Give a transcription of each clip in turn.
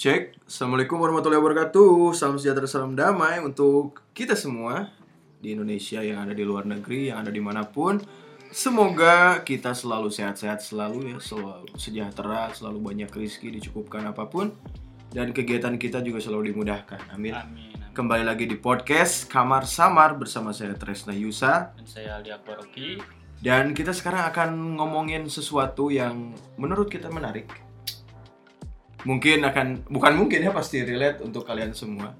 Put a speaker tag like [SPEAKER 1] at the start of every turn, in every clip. [SPEAKER 1] Cek, Assalamualaikum warahmatullahi wabarakatuh Salam sejahtera, salam damai untuk kita semua Di Indonesia yang ada di luar negeri, yang ada dimanapun Semoga kita selalu sehat-sehat selalu ya Selalu sejahtera, selalu banyak rezeki, dicukupkan apapun Dan kegiatan kita juga selalu dimudahkan, amin
[SPEAKER 2] Amin. amin.
[SPEAKER 1] Kembali lagi di podcast Kamar Samar bersama saya Tresna Yusa
[SPEAKER 2] Dan saya Ali Akbar Rocky.
[SPEAKER 1] Dan kita sekarang akan ngomongin sesuatu yang menurut kita menarik. Mungkin akan bukan mungkin ya pasti relate untuk kalian semua.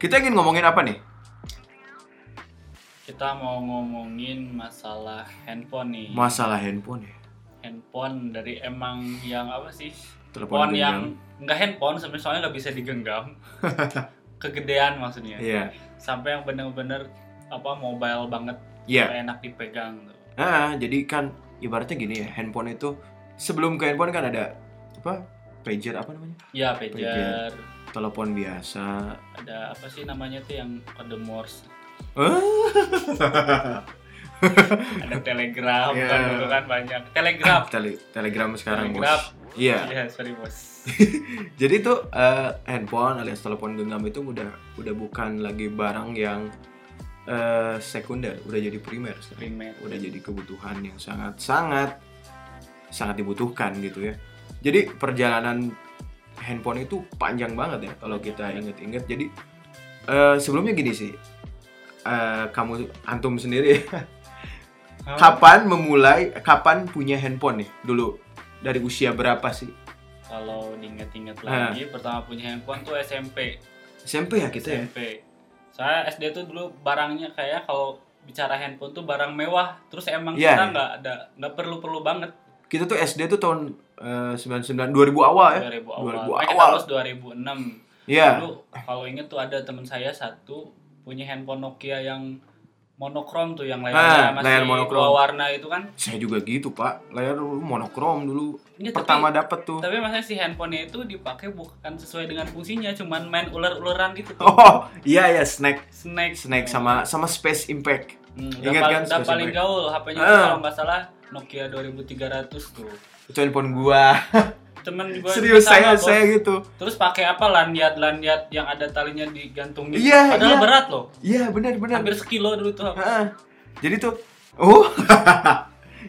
[SPEAKER 1] Kita ingin ngomongin apa nih?
[SPEAKER 2] Kita mau ngomongin masalah handphone nih.
[SPEAKER 1] Masalah handphone ya.
[SPEAKER 2] handphone dari emang yang apa sih?
[SPEAKER 1] Telepon genggam.
[SPEAKER 2] Handphone yang nggak handphone sebenarnya soalnya nggak bisa digenggam. Kegedean maksudnya.
[SPEAKER 1] Iya.
[SPEAKER 2] Sampai yang bener-bener apa mobile banget,
[SPEAKER 1] Iya.
[SPEAKER 2] nggak enak dipegang tuh.
[SPEAKER 1] Ah, jadi kan ibaratnya gini ya, handphone itu sebelum ke handphone kan ada apa? Pager apa namanya?
[SPEAKER 2] Ya pager.
[SPEAKER 1] Telepon biasa.
[SPEAKER 2] Ada apa sih namanya tuh yang kode Morse? Ada telegram
[SPEAKER 1] Iya.
[SPEAKER 2] kan dulu kan banyak. Telegram.
[SPEAKER 1] Tele- Telegram sekarang,
[SPEAKER 2] Telegram.
[SPEAKER 1] Bos. Iya.
[SPEAKER 2] Iya, sorry bos.
[SPEAKER 1] Jadi itu eh, handphone alias telepon genggam itu udah udah bukan lagi barang yang eh, sekunder, udah jadi primer sekarang.
[SPEAKER 2] Primer.
[SPEAKER 1] Udah jadi kebutuhan yang sangat-sangat sangat dibutuhkan gitu ya. Jadi perjalanan handphone itu panjang banget ya kalau kita inget-inget. Jadi eh, sebelumnya gini sih, eh, kamu antum sendiri kapan memulai, kapan punya handphone nih dulu dari usia berapa sih?
[SPEAKER 2] kalau diinget-inget
[SPEAKER 1] Ah.
[SPEAKER 2] lagi pertama punya handphone tuh SMP
[SPEAKER 1] SMP ya kita ya.
[SPEAKER 2] SMP saya SD tuh dulu barangnya kayak kalau bicara handphone tuh barang mewah terus emang
[SPEAKER 1] Iya,
[SPEAKER 2] kita
[SPEAKER 1] iya.
[SPEAKER 2] nggak ada nggak perlu-perlu banget
[SPEAKER 1] kita tuh SD tuh tahun eh, 99 2000 awal ya.
[SPEAKER 2] 2000
[SPEAKER 1] 2000
[SPEAKER 2] awal Makanya kita
[SPEAKER 1] awal.
[SPEAKER 2] lulus 2006
[SPEAKER 1] Iya.
[SPEAKER 2] Iya. dulu kalau inget tuh ada teman saya satu punya handphone Nokia yang monokrom tuh yang
[SPEAKER 1] Ah,
[SPEAKER 2] layarnya masih
[SPEAKER 1] layar monokrom.
[SPEAKER 2] dua warna itu kan
[SPEAKER 1] Saya juga gitu, Pak. Layar dulu monokrom dulu.
[SPEAKER 2] Ini
[SPEAKER 1] Pertama
[SPEAKER 2] Iya, tapi,
[SPEAKER 1] dapet tuh.
[SPEAKER 2] tapi maksudnya si handphonenya itu dipakai bukan sesuai dengan fungsinya cuman main ular-ularan gitu tuh
[SPEAKER 1] Oh, iya ya snack.
[SPEAKER 2] snack
[SPEAKER 1] Snack sama sama Space Impact.
[SPEAKER 2] Hmm, udah,
[SPEAKER 1] Ingat
[SPEAKER 2] pal-
[SPEAKER 1] kan
[SPEAKER 2] udah
[SPEAKER 1] Space
[SPEAKER 2] paling
[SPEAKER 1] Impact?
[SPEAKER 2] gaul HP-nya
[SPEAKER 1] Ah.
[SPEAKER 2] kalau nggak salah Nokia 2300 tuh.
[SPEAKER 1] Itu handphone gua.
[SPEAKER 2] Temen juga
[SPEAKER 1] Serius
[SPEAKER 2] juga
[SPEAKER 1] saya
[SPEAKER 2] sama, Bos.
[SPEAKER 1] saya gitu.
[SPEAKER 2] Terus pakai apa lanyard-lanyard yang ada talinya digantung gitu.
[SPEAKER 1] Iya,
[SPEAKER 2] Padahal
[SPEAKER 1] iya.
[SPEAKER 2] berat loh.
[SPEAKER 1] Iya, benar benar.
[SPEAKER 2] Hampir sekilo dulu tuh. HP.
[SPEAKER 1] Heeh. Jadi tuh oh.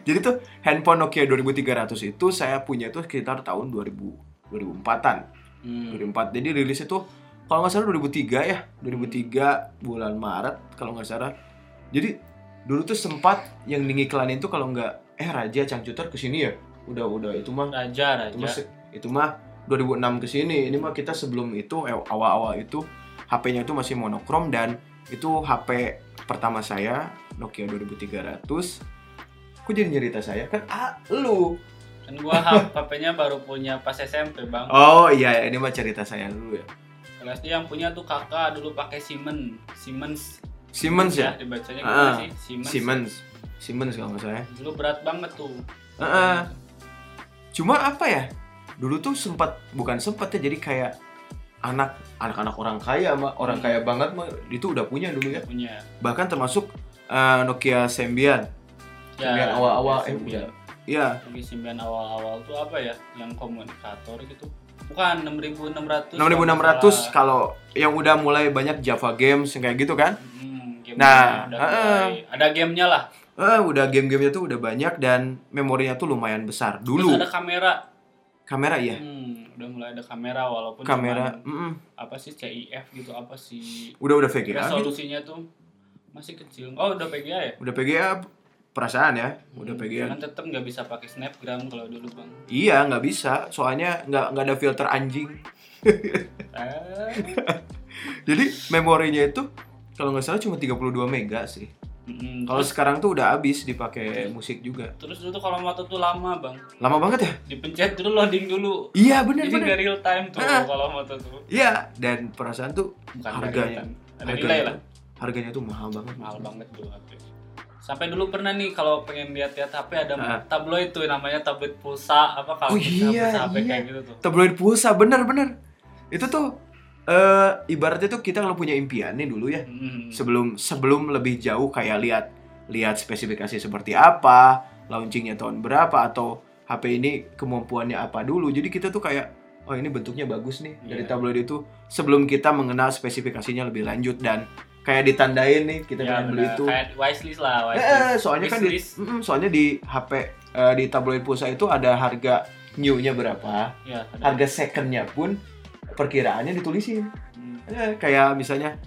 [SPEAKER 1] Jadi tuh handphone Nokia 2300 itu saya punya tuh sekitar tahun 2000 2004-an.
[SPEAKER 2] Hmm.
[SPEAKER 1] 2004 jadi rilisnya tuh kalau nggak salah 2003 ya 2003 bulan Maret kalau nggak salah jadi dulu tuh sempat yang dingiklanin tuh kalau nggak eh Raja Cangcuter kesini ya udah udah itu mah
[SPEAKER 2] Raja,
[SPEAKER 1] itu mah
[SPEAKER 2] raja.
[SPEAKER 1] se- itu mah 2006 kesini ini mah kita sebelum itu eh, awal-awal itu HP-nya itu masih monokrom dan itu HP pertama saya Nokia 2300 Kok jadi nyerita saya? Kan ah, lu
[SPEAKER 2] Kan gua HP-nya baru punya pas SMP, Bang.
[SPEAKER 1] Oh iya ini mah cerita saya dulu ya
[SPEAKER 2] Kalau SD yang punya tuh kakak dulu pakai Siemens. Siemens. Iya,
[SPEAKER 1] Siemens ya?
[SPEAKER 2] dibacanya
[SPEAKER 1] Ah.
[SPEAKER 2] gimana sih? Siemens.
[SPEAKER 1] Siemens. Siemens kalau nggak salah ya.
[SPEAKER 2] Dulu berat banget tuh.
[SPEAKER 1] Heeh. Cuma apa ya? Dulu tuh sempat bukan sempat ya jadi kayak anak anak-anak orang kaya mah orang
[SPEAKER 2] Hmm.
[SPEAKER 1] kaya banget mah itu udah punya dulu ya.
[SPEAKER 2] Punya. Punya.
[SPEAKER 1] Bahkan termasuk eh, Nokia Symbian.
[SPEAKER 2] Ya,
[SPEAKER 1] Symbian awal-awal eh
[SPEAKER 2] Symbian.
[SPEAKER 1] udah. Iya,
[SPEAKER 2] Lagi sembilan awal-awal tuh apa ya? Yang komunikator gitu. Bukan 6600.
[SPEAKER 1] 6600 kalau yang udah mulai banyak Java games yang kayak gitu kan.
[SPEAKER 2] Hmm, game
[SPEAKER 1] Nah,
[SPEAKER 2] udah
[SPEAKER 1] heeh.
[SPEAKER 2] mulai. ada gamenya lah.
[SPEAKER 1] Eh udah game-gamenya tuh udah banyak dan memorinya tuh lumayan besar
[SPEAKER 2] Terus
[SPEAKER 1] dulu.
[SPEAKER 2] ada kamera.
[SPEAKER 1] Kamera ya.
[SPEAKER 2] Hmm, udah mulai ada kamera walaupun
[SPEAKER 1] Kamera,
[SPEAKER 2] cuman
[SPEAKER 1] mm-mm.
[SPEAKER 2] apa sih CIF gitu apa sih?
[SPEAKER 1] udah udah VGA gitu.
[SPEAKER 2] Resolusinya tuh masih kecil. Oh, udah PGA ya?
[SPEAKER 1] Udah PGA perasaan ya, udah
[SPEAKER 2] Hmm,
[SPEAKER 1] PGA.
[SPEAKER 2] Cuman tetep nggak bisa pakai snapgram kalau dulu bang.
[SPEAKER 1] Iya nggak bisa, soalnya nggak nggak ada filter anjing.
[SPEAKER 2] Eh,
[SPEAKER 1] Jadi memorinya itu kalau nggak salah cuma 32 mega sih.
[SPEAKER 2] mm,
[SPEAKER 1] Kalau
[SPEAKER 2] terus,
[SPEAKER 1] sekarang tuh udah habis dipakai musik juga.
[SPEAKER 2] terus dulu tuh kalau moto tuh lama bang.
[SPEAKER 1] Lama banget ya?
[SPEAKER 2] Dipencet dulu loading dulu.
[SPEAKER 1] Iya bener
[SPEAKER 2] Jadi
[SPEAKER 1] bener.
[SPEAKER 2] nggak real time tuh
[SPEAKER 1] Heeh.
[SPEAKER 2] kalau moto tuh.
[SPEAKER 1] Iya dan perasaan tuh
[SPEAKER 2] Bukan
[SPEAKER 1] harganya,
[SPEAKER 2] real time. Ada
[SPEAKER 1] harganya
[SPEAKER 2] nilai
[SPEAKER 1] tuh-
[SPEAKER 2] lah.
[SPEAKER 1] Harganya tuh mahal banget.
[SPEAKER 2] mahal banget tuh HP. Sampai dulu pernah nih kalau pengen lihat-lihat HP ada
[SPEAKER 1] Ah.
[SPEAKER 2] tabloid tuh namanya tabloid pulsa apa kalau
[SPEAKER 1] Oh
[SPEAKER 2] kita
[SPEAKER 1] iya,
[SPEAKER 2] hapus HP
[SPEAKER 1] iya.
[SPEAKER 2] kayak gitu tuh.
[SPEAKER 1] Tabloid pulsa bener bener. Itu tuh eh ibaratnya tuh kita kalau punya impian nih dulu ya.
[SPEAKER 2] Hmm.
[SPEAKER 1] sebelum sebelum lebih jauh kayak lihat lihat spesifikasi seperti apa, launchingnya tahun berapa atau HP ini kemampuannya apa dulu. Jadi kita tuh kayak oh ini bentuknya bagus nih dari
[SPEAKER 2] Iya.
[SPEAKER 1] tabloid itu sebelum kita mengenal spesifikasinya lebih lanjut dan kayak ditandain nih kita
[SPEAKER 2] Ya,
[SPEAKER 1] pengen beli
[SPEAKER 2] benar.
[SPEAKER 1] itu.
[SPEAKER 2] Kayak wishlist lah, wishlist.
[SPEAKER 1] Eh, eh, soalnya kan di,
[SPEAKER 2] Wishlist.
[SPEAKER 1] Mm-mm, soalnya di HP eh, di tabloid pulsa itu ada harga new-nya berapa,
[SPEAKER 2] Ya, ada.
[SPEAKER 1] harga second-nya pun perkiraannya ditulisin.
[SPEAKER 2] Hmm.
[SPEAKER 1] Eh, kayak misalnya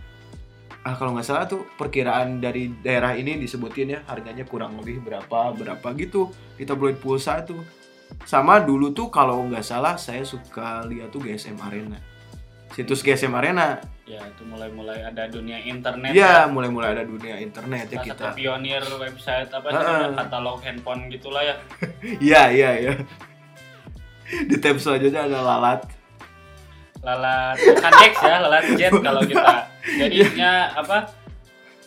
[SPEAKER 1] ah kalau nggak salah tuh perkiraan dari daerah ini disebutin ya harganya kurang lebih berapa berapa gitu di tabloid pulsa tuh sama dulu tuh kalau nggak salah saya suka lihat tuh GSM Arena situs GSM Arena
[SPEAKER 2] Ya, itu mulai-mulai ada dunia internet.
[SPEAKER 1] ya mulai-mulai ada dunia internet ya
[SPEAKER 2] Salah
[SPEAKER 1] kita Ah,
[SPEAKER 2] satu pionir website apa
[SPEAKER 1] Heeh.
[SPEAKER 2] namanya, katalog handphone gitulah ya.
[SPEAKER 1] Iya iya iya. Di tab selanjutnya ada lalat.
[SPEAKER 2] Lalat bukan Dex ya, lalat jet kalau kita.
[SPEAKER 1] Iya.
[SPEAKER 2] Jadinya apa?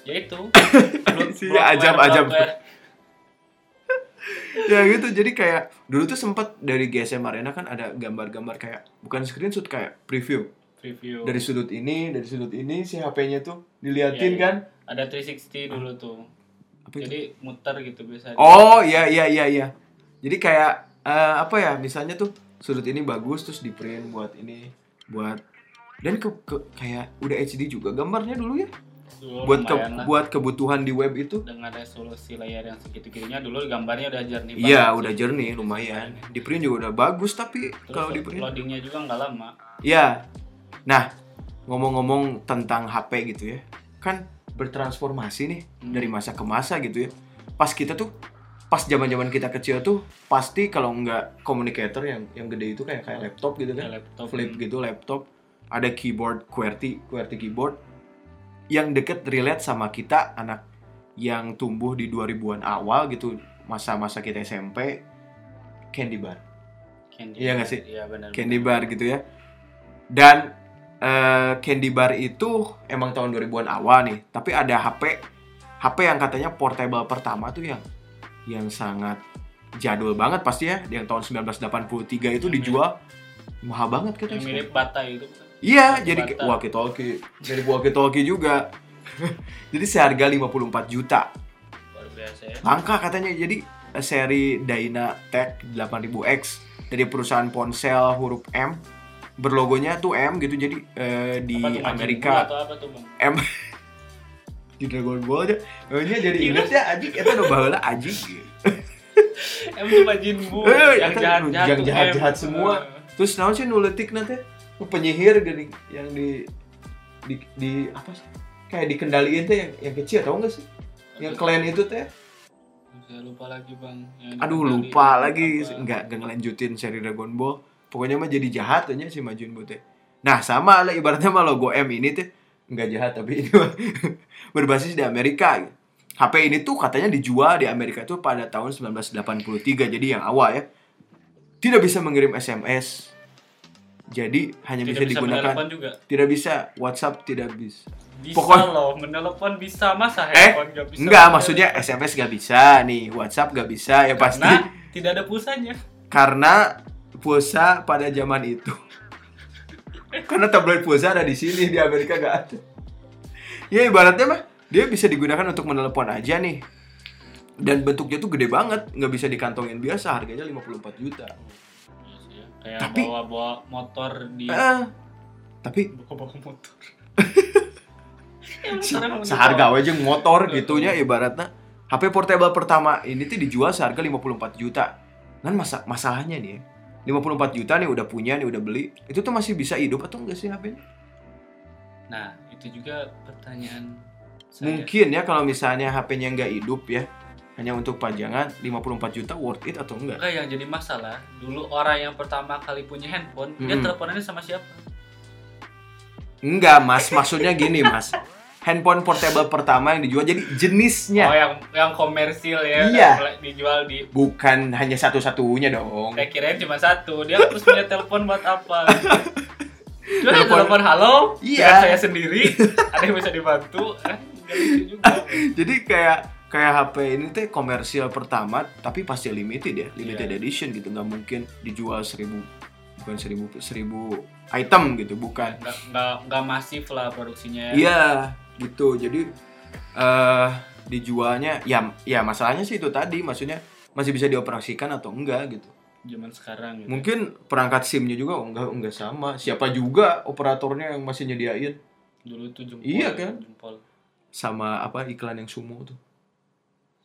[SPEAKER 2] Ya itu. Blood-
[SPEAKER 1] Sih,
[SPEAKER 2] bloodware,
[SPEAKER 1] ajab-ajab.
[SPEAKER 2] bloodware.
[SPEAKER 1] Ya gitu. Jadi kayak dulu tuh sempet dari GSM Arena kan ada gambar-gambar kayak bukan screenshot kayak preview
[SPEAKER 2] Review.
[SPEAKER 1] dari sudut ini, dari sudut ini si HP-nya tuh diliatin
[SPEAKER 2] Iya, iya.
[SPEAKER 1] kan. Ah.
[SPEAKER 2] Ada 360 dulu tuh.
[SPEAKER 1] Apa itu?
[SPEAKER 2] Jadi muter gitu biasanya.
[SPEAKER 1] Oh iya iya iya iya. Jadi kayak eh, apa ya misalnya tuh sudut ini bagus terus di print buat ini buat dan ke, ke- kayak udah HD juga gambarnya dulu ya
[SPEAKER 2] Dulu
[SPEAKER 1] buat ke,
[SPEAKER 2] Oh, lumayan lah.
[SPEAKER 1] buat kebutuhan di web itu
[SPEAKER 2] dengan resolusi layar yang segitu-gitunya dulu gambarnya udah jernih
[SPEAKER 1] Iya,
[SPEAKER 2] banget.
[SPEAKER 1] udah jernih lumayan. Di print juga udah bagus tapi
[SPEAKER 2] Terus
[SPEAKER 1] kalau di print
[SPEAKER 2] loadingnya juga nggak lama.
[SPEAKER 1] Iya. Nah, ngomong-ngomong tentang HP gitu ya. Kan bertransformasi nih
[SPEAKER 2] Hmm.
[SPEAKER 1] dari masa ke masa gitu ya. Pas kita tuh pas zaman-zaman kita kecil tuh pasti kalau nggak communicator yang yang gede itu kayak kayak laptop gitu
[SPEAKER 2] Ya,
[SPEAKER 1] kan.
[SPEAKER 2] laptop
[SPEAKER 1] Flip gitu laptop. Ada keyboard QWERTY, QWERTY keyboard yang deket relate sama kita anak yang tumbuh di 2000-an awal gitu masa-masa kita SMP Candy Bar.
[SPEAKER 2] Candy
[SPEAKER 1] Iya
[SPEAKER 2] bar.
[SPEAKER 1] nggak sih?
[SPEAKER 2] Iya benar.
[SPEAKER 1] Candy Bar gitu ya. Dan eh, Candy Bar itu emang tahun 2000-an awal nih, tapi ada HP HP yang katanya portable pertama tuh yang yang sangat jadul banget pasti ya, yang tahun 1983 itu
[SPEAKER 2] Yang
[SPEAKER 1] dijual mahal banget
[SPEAKER 2] Yang
[SPEAKER 1] katanya.
[SPEAKER 2] mirip Bata itu bukan?
[SPEAKER 1] Iya,
[SPEAKER 2] Yang
[SPEAKER 1] jadi
[SPEAKER 2] Bata.
[SPEAKER 1] walkie talkie, jadi walkie talkie juga. jadi seharga 54 juta.
[SPEAKER 2] luar biasa ya.
[SPEAKER 1] Langka katanya. Jadi eh, seri Dynatec 8000X dari perusahaan ponsel huruf M berlogonya tuh M gitu jadi eh, di
[SPEAKER 2] Apa tuh, Majin Buu
[SPEAKER 1] Amerika
[SPEAKER 2] atau apa tuh bang?
[SPEAKER 1] M di Dragon Ball aja namanya jadi
[SPEAKER 2] Iya.
[SPEAKER 1] inget ya anjing itu udah baheula anjing
[SPEAKER 2] M tuh Majin Buu
[SPEAKER 1] Eh,
[SPEAKER 2] Oh, yang
[SPEAKER 1] itu
[SPEAKER 2] jahat jahat
[SPEAKER 1] yang jahat-jahat semua. terus naon sih nu leutik na teh? Nu penyihir gini yang di di, di apa sih kayak dikendaliin teh yang, yang kecil tau gak sih yang klan itu teh
[SPEAKER 2] Saya lupa lagi bang. Yang
[SPEAKER 1] aduh
[SPEAKER 2] dikendali-
[SPEAKER 1] lupa lagi
[SPEAKER 2] apa.
[SPEAKER 1] nggak nggak ngelanjutin seri Dragon Ball pokoknya mah jadi jahat aja si Majin Buu teh nah sama lah ibaratnya mah logo M ini teh nggak jahat tapi ini mah berbasis di Amerika HP ini tuh katanya dijual di Amerika tuh pada tahun 1983 jadi yang awal ya tidak bisa mengirim SMS jadi hanya bisa,
[SPEAKER 2] Tidak
[SPEAKER 1] digunakan
[SPEAKER 2] menelepon juga.
[SPEAKER 1] tidak bisa WhatsApp tidak bisa
[SPEAKER 2] Bisa
[SPEAKER 1] Pokoknya-
[SPEAKER 2] loh, menelepon bisa masa
[SPEAKER 1] eh
[SPEAKER 2] handphone nggak bisa.
[SPEAKER 1] enggak maksudnya SMS nggak bisa nih WhatsApp nggak bisa ya pasti
[SPEAKER 2] Nah, tidak ada pulsanya.
[SPEAKER 1] karena pulsa pada zaman itu karena tabloid pulsa ada di sini di Amerika gak ada ya ibaratnya mah dia bisa digunakan untuk menelepon aja nih dan bentuknya tuh gede banget nggak bisa dikantongin biasa harganya 54 juta
[SPEAKER 2] Iya sih ya. Kayak
[SPEAKER 1] Tapi-
[SPEAKER 2] bawa-bawa motor di
[SPEAKER 1] Eh, tapi
[SPEAKER 2] bawa-bawa motor. Ya,
[SPEAKER 1] se- seharga aja motor gitunya ibaratnya HP portable pertama ini tuh dijual seharga 54 juta kan masa masalahnya nih ya, 54 juta nih udah punya nih udah beli itu tuh masih bisa hidup atau enggak sih HP-nya
[SPEAKER 2] Nah, itu juga pertanyaan saya.
[SPEAKER 1] Mungkin ya kalau misalnya HP-nya nggak hidup ya, hanya untuk pajangan 54 juta worth it atau enggak?
[SPEAKER 2] Enggak yang jadi masalah, dulu orang yang pertama kali punya handphone, dia
[SPEAKER 1] Mm-mm.
[SPEAKER 2] teleponannya sama siapa?
[SPEAKER 1] Enggak, Mas. Maksudnya gini, Mas. Handphone portable pertama yang dijual jadi
[SPEAKER 2] Oh,
[SPEAKER 1] jenisnya
[SPEAKER 2] yang yang komersil ya,
[SPEAKER 1] Iya.
[SPEAKER 2] yang mulai dijual di
[SPEAKER 1] bukan hanya satu-satunya dong.
[SPEAKER 2] saya kirain cuma satu. Dia terus punya telepon buat apa? Cuma ada
[SPEAKER 1] Telepon-
[SPEAKER 2] telepon halo,
[SPEAKER 1] Iya.
[SPEAKER 2] dengan saya sendiri, ada yang bisa dibantu. Eh, nggak lucu juga.
[SPEAKER 1] Jadi kayak kayak HP ini teh komersial pertama tapi pasti limited ya, limited
[SPEAKER 2] Iya.
[SPEAKER 1] edition gitu. Nggak mungkin dijual seribu bukan seribu seribu item gitu, bukan.
[SPEAKER 2] Nggak, nggak, nggak masif lah produksinya. ya.
[SPEAKER 1] Iya, gitu. Jadi eh dijualnya ya ya masalahnya sih itu tadi maksudnya masih bisa dioperasikan atau enggak gitu.
[SPEAKER 2] zaman sekarang gitu.
[SPEAKER 1] Mungkin perangkat SIM-nya juga oh, enggak enggak sama. Siapa juga operatornya yang masih nyediain
[SPEAKER 2] dulu tuh jempol
[SPEAKER 1] Iya,
[SPEAKER 2] ya,
[SPEAKER 1] kan?
[SPEAKER 2] jempol
[SPEAKER 1] sama apa iklan yang sumo tuh.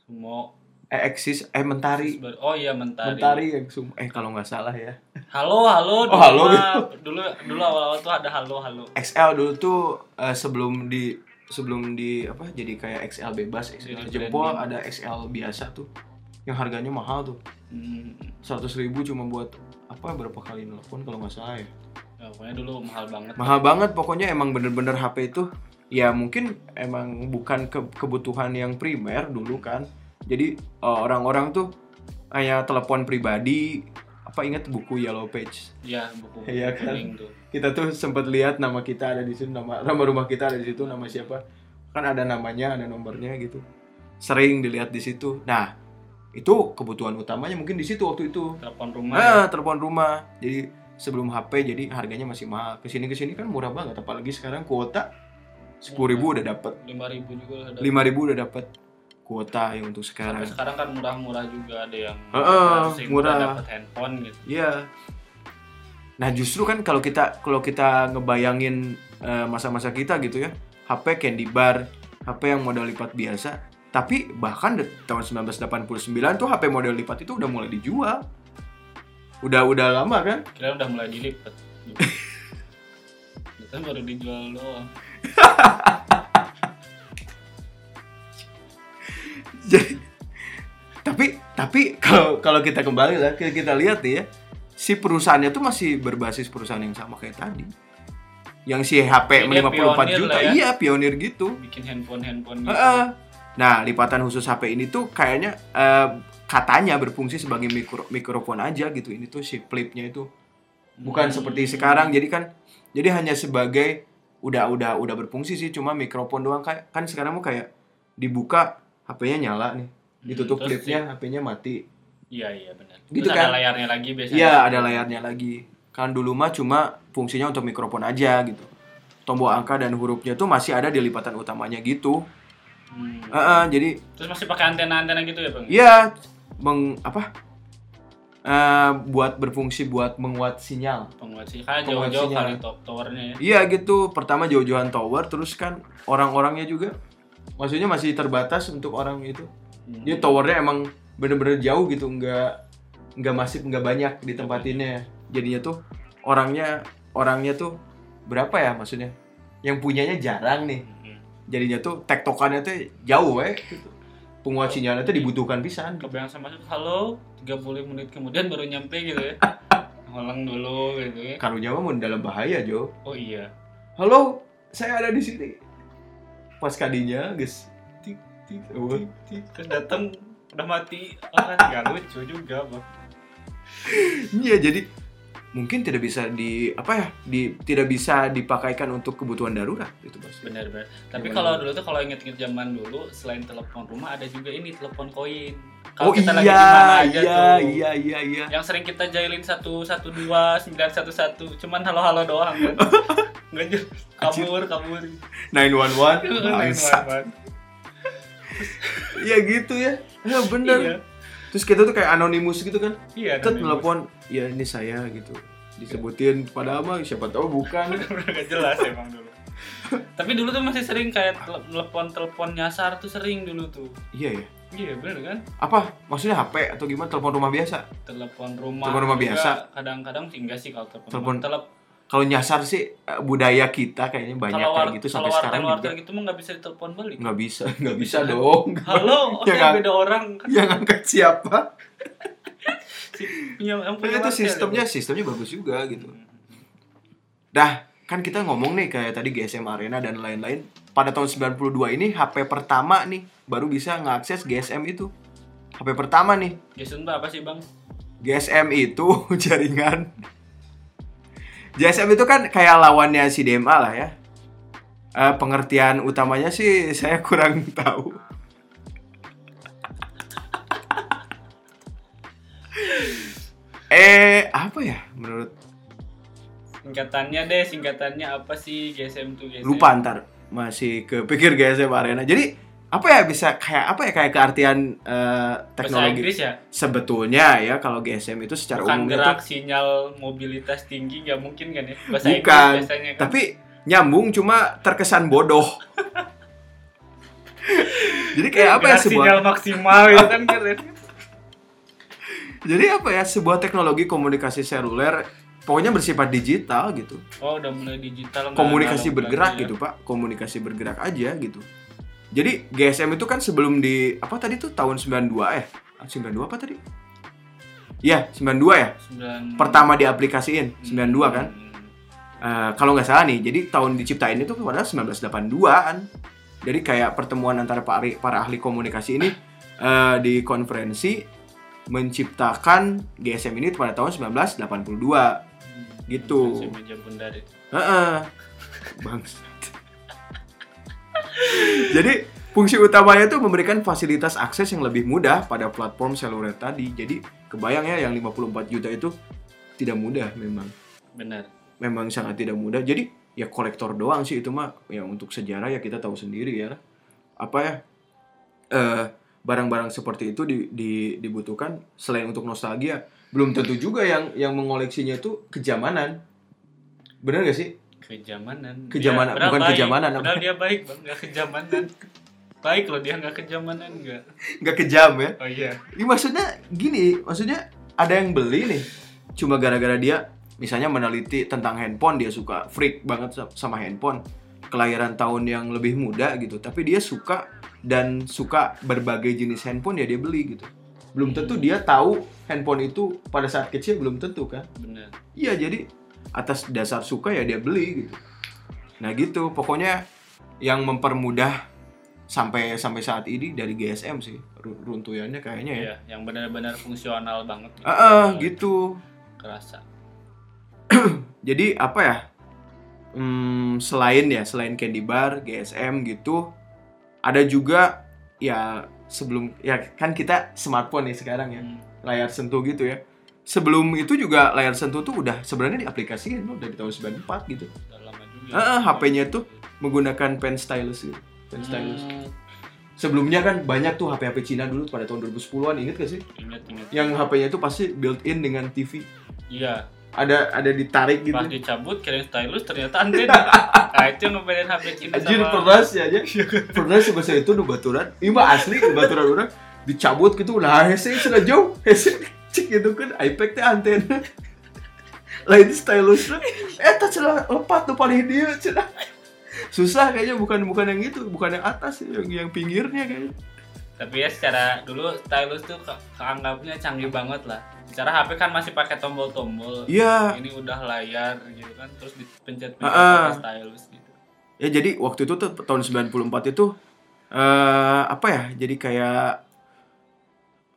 [SPEAKER 2] sumo
[SPEAKER 1] Eh eksis eh mentari.
[SPEAKER 2] terus baru- oh iya mentari.
[SPEAKER 1] Mentari yang sumo. Eh kalau nggak salah ya.
[SPEAKER 2] halo halo
[SPEAKER 1] Oh, halo.
[SPEAKER 2] mah- dulu dulu awal-awal tuh ada halo halo
[SPEAKER 1] XL dulu tuh eh, sebelum di sebelum di apa jadi kayak XL bebas, XL
[SPEAKER 2] Jadi
[SPEAKER 1] jempol ada
[SPEAKER 2] branding.
[SPEAKER 1] XL biasa tuh yang harganya mahal tuh
[SPEAKER 2] hmm.
[SPEAKER 1] seratus ribu cuma buat apa berapa kali nelfon kalau nggak salah ya
[SPEAKER 2] ya, pokoknya dulu mahal banget
[SPEAKER 1] mahal banget pokoknya emang bener-bener HP itu ya mungkin emang bukan ke- kebutuhan yang primer dulu kan jadi eh, orang-orang tuh hanya telepon pribadi apa ingat buku Yellow Page
[SPEAKER 2] ya buku
[SPEAKER 1] Iya, kan?
[SPEAKER 2] kuning tuh
[SPEAKER 1] kita tuh sempat lihat nama kita ada di situ nama nama rumah kita ada di situ nama siapa kan ada namanya ada nomornya gitu sering dilihat di situ nah itu kebutuhan utamanya mungkin di situ waktu itu
[SPEAKER 2] telepon rumah
[SPEAKER 1] nah telepon rumah jadi sebelum HP jadi harganya masih mahal kesini kesini kan murah banget apalagi sekarang kuota sepuluh ribu udah dapat
[SPEAKER 2] lima ribu juga ada
[SPEAKER 1] lima ribu udah dapat kuota yang untuk sekarang
[SPEAKER 2] Sampai sekarang kan murah-murah juga ada yang
[SPEAKER 1] Heeh,
[SPEAKER 2] yang
[SPEAKER 1] murah.
[SPEAKER 2] dapat handphone gitu
[SPEAKER 1] Iya. Nah justru kan kalau kita kalau kita ngebayangin eh, masa-masa kita gitu ya, HP candy bar, HP yang model lipat biasa, tapi bahkan di tahun 1989 tuh HP model lipat itu udah mulai dijual. Udah udah lama kan?
[SPEAKER 2] kira udah mulai dilipat Ternyata baru dijual doang
[SPEAKER 1] Jadi- tapi tapi kalau kalau kita kembali lah kita, kita lihat nih ya si perusahaannya tuh masih berbasis perusahaan yang sama kayak tadi yang si HP
[SPEAKER 2] Ini
[SPEAKER 1] 54
[SPEAKER 2] pionir
[SPEAKER 1] juta
[SPEAKER 2] lah ya.
[SPEAKER 1] iya pionir gitu
[SPEAKER 2] bikin handphone handphone gitu
[SPEAKER 1] Heeh. Nah, lipatan khusus HP ini tuh kayaknya eh, katanya berfungsi sebagai mikro mikrofon aja gitu. Ini tuh si flipnya itu bukan
[SPEAKER 2] Hmm.
[SPEAKER 1] seperti sekarang. Jadi kan jadi hanya sebagai udah udah udah berfungsi sih cuma mikrofon doang kayak kan sekarang mau kayak dibuka HP-nya nyala nih. Ditutup
[SPEAKER 2] Hmm, terus ya?
[SPEAKER 1] flipnya, HP-nya mati.
[SPEAKER 2] iya iya benar
[SPEAKER 1] Gitu
[SPEAKER 2] Terus
[SPEAKER 1] kan?
[SPEAKER 2] ada layarnya lagi biasanya
[SPEAKER 1] Iya, ada layarnya lagi. Kan dulu mah cuma fungsinya untuk mikrofon aja gitu. Tombol angka dan hurufnya tuh masih ada di lipatan utamanya gitu.
[SPEAKER 2] Hmm.
[SPEAKER 1] Heeh, jadi
[SPEAKER 2] terus masih pakai antena antena gitu ya bang
[SPEAKER 1] Iya, meng apa? Eh, buat berfungsi buat menguat sinyal.
[SPEAKER 2] penguat sih kan
[SPEAKER 1] Penguat
[SPEAKER 2] jauh-jauh
[SPEAKER 1] sinyal.
[SPEAKER 2] kali top towernya ya
[SPEAKER 1] Iya gitu. Pertama jauh-jauhan tower, terus kan orang-orangnya juga, maksudnya masih terbatas untuk orang itu.
[SPEAKER 2] Hmm.
[SPEAKER 1] Jadi towernya emang bener-bener jauh gitu, nggak nggak masif, nggak banyak ditempatinnya. Jadinya tuh orangnya orangnya tuh berapa ya maksudnya? Yang punyanya jarang nih.
[SPEAKER 2] Hmm.
[SPEAKER 1] Jadinya tuh tektokannya tuh jauh eh. Gitu. Penguat sinyalnya tuh dibutuhkan pisan.
[SPEAKER 2] kebayang sama tuh halo 30 menit kemudian baru nyampe gitu ya ngolang dulu gitu ya
[SPEAKER 1] Kalau Jawa mau dalam bahaya Jo.
[SPEAKER 2] oh iya
[SPEAKER 1] halo saya ada di sini pas kadinya guys tik tik oh.
[SPEAKER 2] terus datang udah mati orang nggak lucu juga bang
[SPEAKER 1] iya jadi mungkin tidak bisa di apa ya di tidak bisa dipakaikan untuk kebutuhan darurat itu mas
[SPEAKER 2] benar benar tapi
[SPEAKER 1] Zaman
[SPEAKER 2] kalau
[SPEAKER 1] dulu.
[SPEAKER 2] dulu tuh kalau inget-inget zaman dulu selain telepon rumah ada juga ini telepon koin
[SPEAKER 1] oh
[SPEAKER 2] kalau kita lagi di
[SPEAKER 1] iya
[SPEAKER 2] mana aja
[SPEAKER 1] iya
[SPEAKER 2] tuh
[SPEAKER 1] iya iya iya
[SPEAKER 2] yang sering kita jailin satu satu dua sembilan satu satu cuman halo halo doang kan nggak jelas
[SPEAKER 1] Anjir.
[SPEAKER 2] kabur kabur
[SPEAKER 1] nine one one
[SPEAKER 2] Lain banget.
[SPEAKER 1] iya gitu ya ya bener
[SPEAKER 2] iya
[SPEAKER 1] terus kita tuh kayak anonimus gitu kan
[SPEAKER 2] iya
[SPEAKER 1] kita
[SPEAKER 2] namanya.
[SPEAKER 1] telepon ya ini saya gitu disebutin pada ama siapa tahu bukan
[SPEAKER 2] nggak jelas emang dulu tapi dulu tuh masih sering kayak telepon telepon nyasar tuh sering dulu tuh
[SPEAKER 1] iya ya
[SPEAKER 2] iya bener kan
[SPEAKER 1] apa maksudnya HP atau gimana telepon rumah biasa
[SPEAKER 2] telepon rumah
[SPEAKER 1] Telepon rumah
[SPEAKER 2] juga
[SPEAKER 1] biasa.
[SPEAKER 2] kadang-kadang sih enggak sih kalau telepon
[SPEAKER 1] Telepon
[SPEAKER 2] rumah. Telep-
[SPEAKER 1] kalau nyasar sih eh, budaya kita kayaknya banyak
[SPEAKER 2] kalau
[SPEAKER 1] kayak
[SPEAKER 2] war-
[SPEAKER 1] gitu sampai
[SPEAKER 2] kalau gitu.
[SPEAKER 1] sekarang juga
[SPEAKER 2] wartel-wartel gitu mah nggak bisa ditelepon balik
[SPEAKER 1] nggak bisa nggak bisa dong
[SPEAKER 2] halo oh
[SPEAKER 1] Yang
[SPEAKER 2] saya
[SPEAKER 1] ang-
[SPEAKER 2] beda orang
[SPEAKER 1] yang angkat siapa
[SPEAKER 2] si, punya Iya, yang
[SPEAKER 1] Tapi
[SPEAKER 2] punya
[SPEAKER 1] itu
[SPEAKER 2] wartel
[SPEAKER 1] sistemnya
[SPEAKER 2] ya,
[SPEAKER 1] sistemnya bagus juga gitu
[SPEAKER 2] Bang.
[SPEAKER 1] dah kan kita ngomong nih kayak tadi GSM Arena dan lain-lain pada tahun 92 ini HP pertama nih baru bisa ngeakses GSM itu HP pertama nih
[SPEAKER 2] Jason tuh apa sih bang
[SPEAKER 1] GSM itu jaringan GSM itu kan kayak lawannya si DMA lah ya Eh, pengertian utamanya sih saya kurang tahu eh apa ya menurut
[SPEAKER 2] singkatannya deh singkatannya apa sih GSM tuh GSM
[SPEAKER 1] lupa ntar masih kepikir GSM Arena jadi apa ya bisa kayak apa ya kayak keartian eh,
[SPEAKER 2] Bahasa
[SPEAKER 1] teknologi
[SPEAKER 2] Inggris ya,
[SPEAKER 1] sebetulnya ya kalau GSM itu secara
[SPEAKER 2] bukan
[SPEAKER 1] umum
[SPEAKER 2] gerak
[SPEAKER 1] itu
[SPEAKER 2] sinyal mobilitas tinggi nggak mungkin kan ya bahasa
[SPEAKER 1] Bukan.
[SPEAKER 2] Inggris biasanya kan.
[SPEAKER 1] tapi nyambung cuma terkesan bodoh. Jadi kayak apa ya
[SPEAKER 2] Gerak
[SPEAKER 1] sebuah
[SPEAKER 2] sinyal maksimal itu kan keren.
[SPEAKER 1] Jadi apa ya sebuah teknologi komunikasi seluler pokoknya bersifat digital gitu.
[SPEAKER 2] Oh udah mulai digital. nggak
[SPEAKER 1] Komunikasi
[SPEAKER 2] analog
[SPEAKER 1] bergerak
[SPEAKER 2] lagi ya.
[SPEAKER 1] gitu, Pak. Komunikasi bergerak aja gitu. Jadi GSM itu kan sebelum di apa tadi tuh tahun 92 eh 92 apa tadi? Iya, 92 ya.
[SPEAKER 2] Sembilan.
[SPEAKER 1] Pertama diaplikasiin 92 kan.
[SPEAKER 2] Hmm.
[SPEAKER 1] Eh, kalau nggak salah nih, jadi tahun diciptain itu pada 1982-an. Jadi kayak pertemuan antara para, para ahli komunikasi ini eh, di konferensi menciptakan GSM ini pada tahun 1982. Gitu.
[SPEAKER 2] Si meja bundar itu.
[SPEAKER 1] Heeh. Bangsat. jadi fungsi utamanya itu memberikan fasilitas akses yang lebih mudah pada platform seluler tadi. Jadi kebayang ya yang 54 juta itu tidak mudah memang
[SPEAKER 2] Benar.
[SPEAKER 1] memang sangat tidak mudah. Jadi ya kolektor doang sih itu mah ya untuk sejarah ya kita tahu sendiri ya. Apa ya? eh, barang-barang seperti itu di- di- dibutuhkan selain untuk nostalgia, belum tentu juga yang yang mengoleksinya itu kejamanan. Bener gak sih?
[SPEAKER 2] Kejamanan.
[SPEAKER 1] Kejamanan,
[SPEAKER 2] padahal
[SPEAKER 1] bukan
[SPEAKER 2] baik.
[SPEAKER 1] kejamanan, apa?
[SPEAKER 2] Padahal dia baik bang, nggak kejamanan. baik loh dia nggak kejamanan nggak.
[SPEAKER 1] Nggak kejam ya.
[SPEAKER 2] Oh iya.
[SPEAKER 1] Ini maksudnya gini, maksudnya ada yang beli nih cuma gara-gara dia misalnya meneliti tentang handphone dia suka freak banget sa- sama handphone kelahiran tahun yang lebih muda gitu tapi dia suka dan suka berbagai jenis handphone ya dia beli gitu belum tentu dia tahu handphone itu pada saat kecil belum tentu kan
[SPEAKER 2] Benar.
[SPEAKER 1] Iya jadi atas dasar suka ya dia beli gitu. Nah gitu pokoknya yang mempermudah sampai sampai saat ini dari GSM sih ru- runtuyannya kayaknya ya.
[SPEAKER 2] Iya. Yang benar-benar fungsional banget.
[SPEAKER 1] Ah ah, gitu.
[SPEAKER 2] Kerasa.
[SPEAKER 1] Jadi apa ya? Hmm, selain ya selain candy bar, GSM gitu, ada juga ya sebelum ya kan kita smartphone nih sekarang ya
[SPEAKER 2] Hmm.
[SPEAKER 1] layar sentuh gitu ya. Sebelum itu juga layar sentuh tuh udah sebenarnya diaplikasikan udah di tahun 94 gitu.
[SPEAKER 2] Udah lama juga.
[SPEAKER 1] Heeh, HP-nya tuh menggunakan pen stylus gitu. Pen stylus.
[SPEAKER 2] Hmm,
[SPEAKER 1] Sebelumnya kan banyak tuh HP-HP Cina dulu pada tahun 2010-an, inget gak sih?
[SPEAKER 2] ingat ingat.
[SPEAKER 1] Yang HP-nya itu pasti built-in dengan TV.
[SPEAKER 2] Iya.
[SPEAKER 1] Ada ada ditarik gitu.
[SPEAKER 2] Pas dicabut kirain stylus ternyata antena. nah itu yang ngebedain HP Cina
[SPEAKER 1] Anjir
[SPEAKER 2] sama.
[SPEAKER 1] pernah sih aja. pernah sebesar itu nu baturan. Iya mah asli nu baturan orang dicabut gitu lah hese sudah jauh hese cek gitu kan iPad teh antena lain stylus eh tak celah lepat tuh paling dia celah susah kayaknya bukan bukan yang itu bukan yang atas yang yang pinggirnya kayaknya
[SPEAKER 2] Tapi ya secara dulu stylus tuh ke- keanggapnya canggih banget lah. Secara HP kan masih pakai tombol-tombol.
[SPEAKER 1] iya
[SPEAKER 2] Ini udah layar gitu kan terus dipencet-pencet
[SPEAKER 1] Ah, ah.
[SPEAKER 2] pakai stylus gitu.
[SPEAKER 1] ya jadi waktu itu tuh tahun 94 itu eh apa ya jadi kayak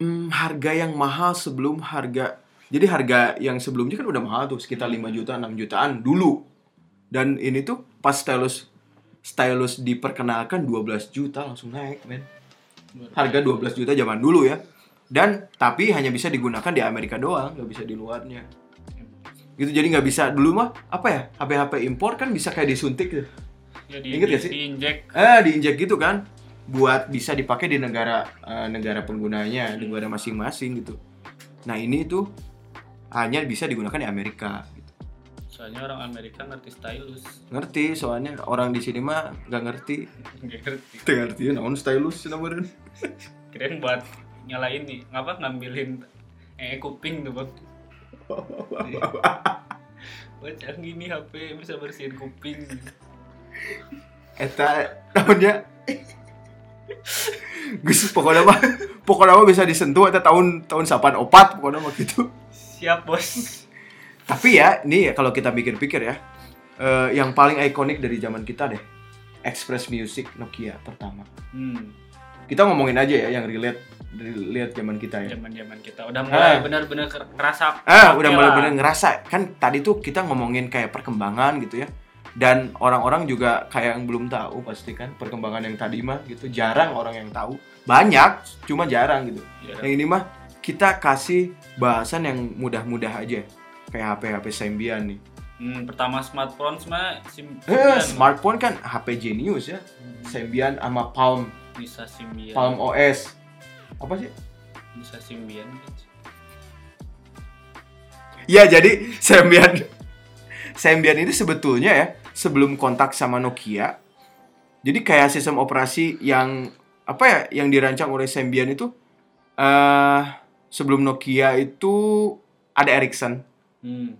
[SPEAKER 1] hmm, harga yang mahal sebelum harga jadi harga yang sebelumnya kan udah mahal tuh sekitar 5 juta 6 jutaan dulu dan ini tuh pas stylus stylus diperkenalkan 12 juta langsung naik men harga 12 juta zaman dulu ya dan tapi hanya bisa digunakan di Amerika doang nggak bisa di luarnya gitu jadi nggak bisa dulu mah apa ya HP-HP impor kan bisa kayak disuntik gitu
[SPEAKER 2] Jadi
[SPEAKER 1] Ingat
[SPEAKER 2] Ya, di,
[SPEAKER 1] gak sih?
[SPEAKER 2] diinjek
[SPEAKER 1] eh diinjek gitu kan buat bisa dipakai di negara eh, negara penggunanya di negara masing-masing gitu nah ini tuh hanya bisa digunakan di Amerika gitu.
[SPEAKER 2] soalnya orang Amerika ngerti stylus.
[SPEAKER 1] ngerti soalnya orang di sini mah nggak ngerti
[SPEAKER 2] Gak ngerti.
[SPEAKER 1] nggak ngerti naon stylus namanya
[SPEAKER 2] Kirain buat nyala ini, ngapa ngambilin eh kuping tuh bang? Wah canggih nih HP bisa bersihin kuping.
[SPEAKER 1] eta tahunnya Gus pokoknya mah pokoknya mah bisa disentuh eta tahun tahun sapan opat pokoknya mah gitu
[SPEAKER 2] Siap bos.
[SPEAKER 1] Tapi ya, ini ya kalau kita pikir-pikir ya, eh, yang paling ikonik dari zaman kita deh, Express Music Nokia pertama.
[SPEAKER 2] Hmm.
[SPEAKER 1] Kita ngomongin aja ya yang relate relate zaman kita ya.
[SPEAKER 2] zaman-zaman kita udah mulai
[SPEAKER 1] Ah.
[SPEAKER 2] benar-benar ker- ngerasa
[SPEAKER 1] Ah, udah
[SPEAKER 2] Oke lah.
[SPEAKER 1] benar-benar ngerasa kan tadi tuh kita ngomongin kayak perkembangan gitu ya. Dan orang-orang juga kayak yang belum tahu pasti kan perkembangan yang tadi mah gitu jarang orang yang tahu. Banyak, cuma jarang gitu.
[SPEAKER 2] Ya,
[SPEAKER 1] Yang ini mah kita kasih bahasan yang mudah-mudah aja. Kayak HP-HP Symbian nih.
[SPEAKER 2] hmm, pertama smartphone mah sim
[SPEAKER 1] Eh,
[SPEAKER 2] Symbian.
[SPEAKER 1] smartphone kan HP Genius ya. Symbian sama Palm
[SPEAKER 2] Nisa Symbian.
[SPEAKER 1] Palm OS apa sih?
[SPEAKER 2] Nisa Symbian.
[SPEAKER 1] Ya jadi Symbian Symbian itu sebetulnya ya sebelum kontak sama Nokia. Jadi kayak sistem operasi yang apa ya yang dirancang oleh Symbian itu eh sebelum Nokia itu ada Ericsson,
[SPEAKER 2] Hmm.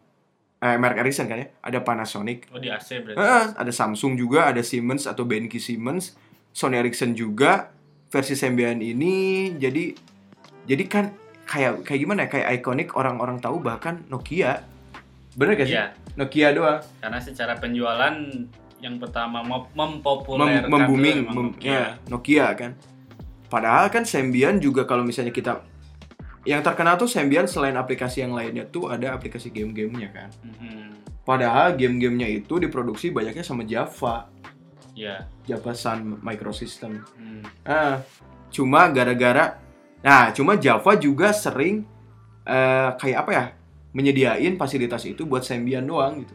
[SPEAKER 1] eh, merek Ericsson kan ya, ada Panasonic,
[SPEAKER 2] Oh di AC berarti.
[SPEAKER 1] eh, ada Samsung juga, ada Siemens atau Benki Siemens, Sony Ericsson juga versi Symbian ini jadi jadi kan kayak kayak gimana ya kayak ikonik orang-orang tahu bahkan Nokia bener gak sih
[SPEAKER 2] Iya,
[SPEAKER 1] Nokia doang
[SPEAKER 2] karena secara penjualan yang pertama mem-
[SPEAKER 1] mem
[SPEAKER 2] mempopulerkan
[SPEAKER 1] membuming
[SPEAKER 2] dulu emang
[SPEAKER 1] mem-
[SPEAKER 2] Nokia.
[SPEAKER 1] ya, Nokia kan padahal kan Symbian juga kalau misalnya kita yang terkenal tuh Symbian selain aplikasi yang lainnya tuh ada aplikasi game-gamenya kan
[SPEAKER 2] Mhm.
[SPEAKER 1] padahal game-gamenya itu diproduksi banyaknya sama Java
[SPEAKER 2] Iya.
[SPEAKER 1] Java Sun Microsystem
[SPEAKER 2] Hmm.
[SPEAKER 1] Ah, cuma gara-gara nah cuma Java juga sering eh, kayak apa ya menyediain fasilitas itu buat Symbian doang gitu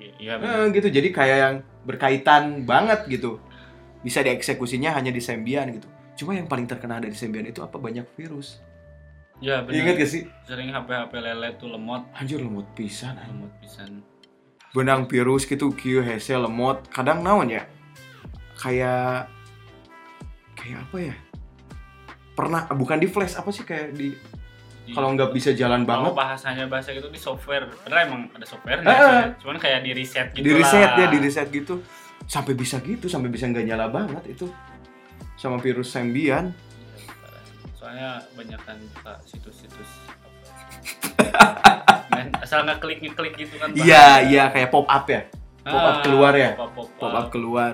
[SPEAKER 2] Iya, Iya benar.
[SPEAKER 1] Eh, gitu jadi kayak yang berkaitan banget gitu bisa dieksekusinya hanya di Symbian gitu cuma yang paling terkenal dari Symbian itu apa banyak virus
[SPEAKER 2] Iya benar.
[SPEAKER 1] ingat gak sih
[SPEAKER 2] Sering HP-HP lelet tuh lemot,
[SPEAKER 1] anjir lemot pisan anjing.
[SPEAKER 2] lemot pisan.
[SPEAKER 1] benang virus gitu Q hese lemot kadang naon ya kayak kayak apa ya pernah bukan di flash apa sih kayak di
[SPEAKER 2] Di-
[SPEAKER 1] kalau nggak bisa jalan
[SPEAKER 2] Iya. kalau
[SPEAKER 1] banget
[SPEAKER 2] bahasanya bahasa gitu di software, bener emang ada softwarenya,
[SPEAKER 1] Eh, eh.
[SPEAKER 2] sih. cuman kayak di reset gitu
[SPEAKER 1] di reset
[SPEAKER 2] lah.
[SPEAKER 1] ya di reset gitu sampai bisa gitu sampai bisa nggak nyala banget itu sama virus Symbian
[SPEAKER 2] Iya, parah. soalnya kebanyakan buka situs-situs apa. Men, asal ngeklik ngeklik gitu kan bahaya.
[SPEAKER 1] Iya, iya kayak pop up ya.
[SPEAKER 2] Ah,
[SPEAKER 1] pop up keluar ya?
[SPEAKER 2] pop up,
[SPEAKER 1] Pop up keluar.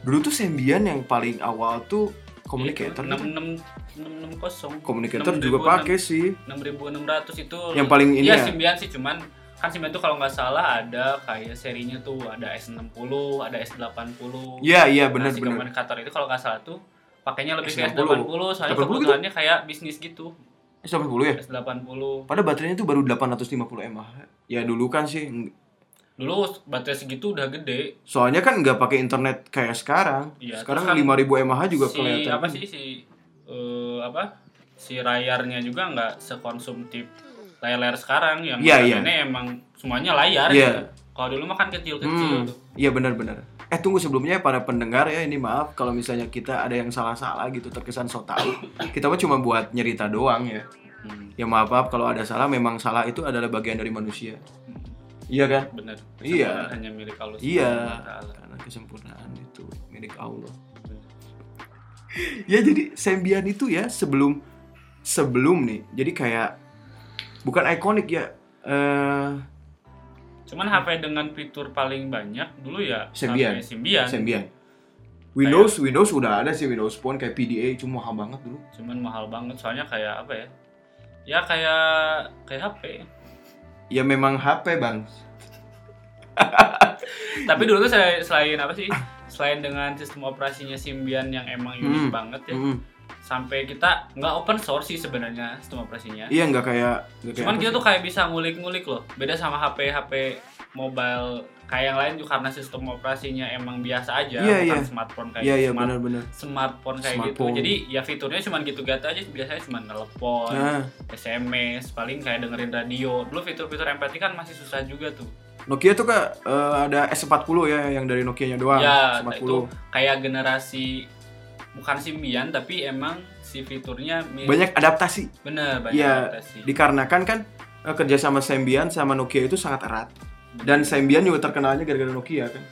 [SPEAKER 1] Dulu tuh Symbian yang paling awal tuh communicator.
[SPEAKER 2] enam
[SPEAKER 1] tuh.
[SPEAKER 2] enam enam Iya, enam kosong
[SPEAKER 1] Communicator juga pakai sih.
[SPEAKER 2] enam ribu enam ratus itu
[SPEAKER 1] Yang paling ini
[SPEAKER 2] iya
[SPEAKER 1] ya.
[SPEAKER 2] Symbian sih cuman kan Symbian tuh kalau nggak salah ada kayak serinya tuh ada S60 ada S80
[SPEAKER 1] Iya, iya
[SPEAKER 2] Nah,
[SPEAKER 1] benar
[SPEAKER 2] si
[SPEAKER 1] benar.
[SPEAKER 2] komunikator itu kalau nggak salah tuh pakainya lebih ke
[SPEAKER 1] S80.
[SPEAKER 2] S80 soalnya
[SPEAKER 1] 80 gitu?
[SPEAKER 2] kebutuhannya kayak bisnis gitu
[SPEAKER 1] S80 ya.
[SPEAKER 2] S80
[SPEAKER 1] Pada baterainya tuh baru 850 mAh. Ya dulu kan sih. ng-
[SPEAKER 2] dulu baterai segitu udah gede
[SPEAKER 1] Soalnya kan nggak pakai internet kayak sekarang.
[SPEAKER 2] Iya,
[SPEAKER 1] sekarang
[SPEAKER 2] terus kan
[SPEAKER 1] 5000 mAh juga
[SPEAKER 2] si
[SPEAKER 1] kelihatan.
[SPEAKER 2] apa sih si eh, apa si layarnya juga nggak sekonsumtif layar-layar sekarang yang
[SPEAKER 1] Iya, iya.
[SPEAKER 2] ini emang semuanya layar
[SPEAKER 1] Iya.
[SPEAKER 2] gitu. Kalau dulu mah kan
[SPEAKER 1] Hmm,
[SPEAKER 2] kecil-kecil tuh.
[SPEAKER 1] iya benar-benar. Eh tunggu sebelumnya para pendengar ya ini maaf kalau misalnya kita ada yang salah-salah gitu terkesan so tahu. kita mah cuma buat nyerita doang ya.
[SPEAKER 2] Hmm,
[SPEAKER 1] Ya maaf maaf kalau ada salah memang salah itu adalah bagian dari manusia. Iya kan?
[SPEAKER 2] bener.
[SPEAKER 1] Iya.
[SPEAKER 2] Kesempurnaan Hanya milik Allah.
[SPEAKER 1] Iya.
[SPEAKER 2] Subhanahu wa ta'ala.
[SPEAKER 1] Karena kesempurnaan itu milik Allah. Ya jadi Sembian itu ya sebelum sebelum nih. Jadi kayak bukan ikonik ya. eh
[SPEAKER 2] Cuman HP dengan fitur paling banyak dulu ya
[SPEAKER 1] Symbian.
[SPEAKER 2] sampai Symbian.
[SPEAKER 1] Sembian. Windows Windows udah ada sih Windows Phone kayak PDA cuma mahal banget dulu.
[SPEAKER 2] Cuman mahal banget soalnya kayak apa ya? Ya kayak kayak HP.
[SPEAKER 1] Ya memang HP bang.
[SPEAKER 2] Tapi dulu tuh selain, selain apa sih? Selain dengan sistem operasinya Symbian yang emang unik
[SPEAKER 1] Hmm.
[SPEAKER 2] banget ya.
[SPEAKER 1] Mm.
[SPEAKER 2] sampai kita nggak open source sih sebenarnya sistem operasinya.
[SPEAKER 1] Iya nggak kayak. nggak kayak
[SPEAKER 2] Cuman
[SPEAKER 1] apa
[SPEAKER 2] kita
[SPEAKER 1] sih.
[SPEAKER 2] tuh kayak bisa ngulik-ngulik loh. Beda sama HP HP mobile kayak yang lain juga karena sistem operasinya emang biasa aja,
[SPEAKER 1] Iya,
[SPEAKER 2] bukan
[SPEAKER 1] iya.
[SPEAKER 2] smartphone kayak
[SPEAKER 1] Iya iya
[SPEAKER 2] smart-
[SPEAKER 1] benar-benar.
[SPEAKER 2] smartphone kayak
[SPEAKER 1] Smartphone.
[SPEAKER 2] gitu. Jadi ya fiturnya cuman gitu gitu aja biasanya cuman telepon,
[SPEAKER 1] Nah
[SPEAKER 2] SMS, paling kayak dengerin radio. Dulu fitur-fitur MP3 kan masih susah juga tuh.
[SPEAKER 1] Nokia tuh kak eh, ada S40 ya yang dari Nokia nya doang.
[SPEAKER 2] ya, nah
[SPEAKER 1] S40.
[SPEAKER 2] itu kayak generasi bukan simbian tapi emang si fiturnya mirip.
[SPEAKER 1] Banyak adaptasi.
[SPEAKER 2] bener banyak
[SPEAKER 1] Iya,
[SPEAKER 2] adaptasi.
[SPEAKER 1] dikarenakan kan eh, kerja sama Sembian sama Nokia itu sangat erat dan Sembian juga terkenalnya gara-gara Nokia kan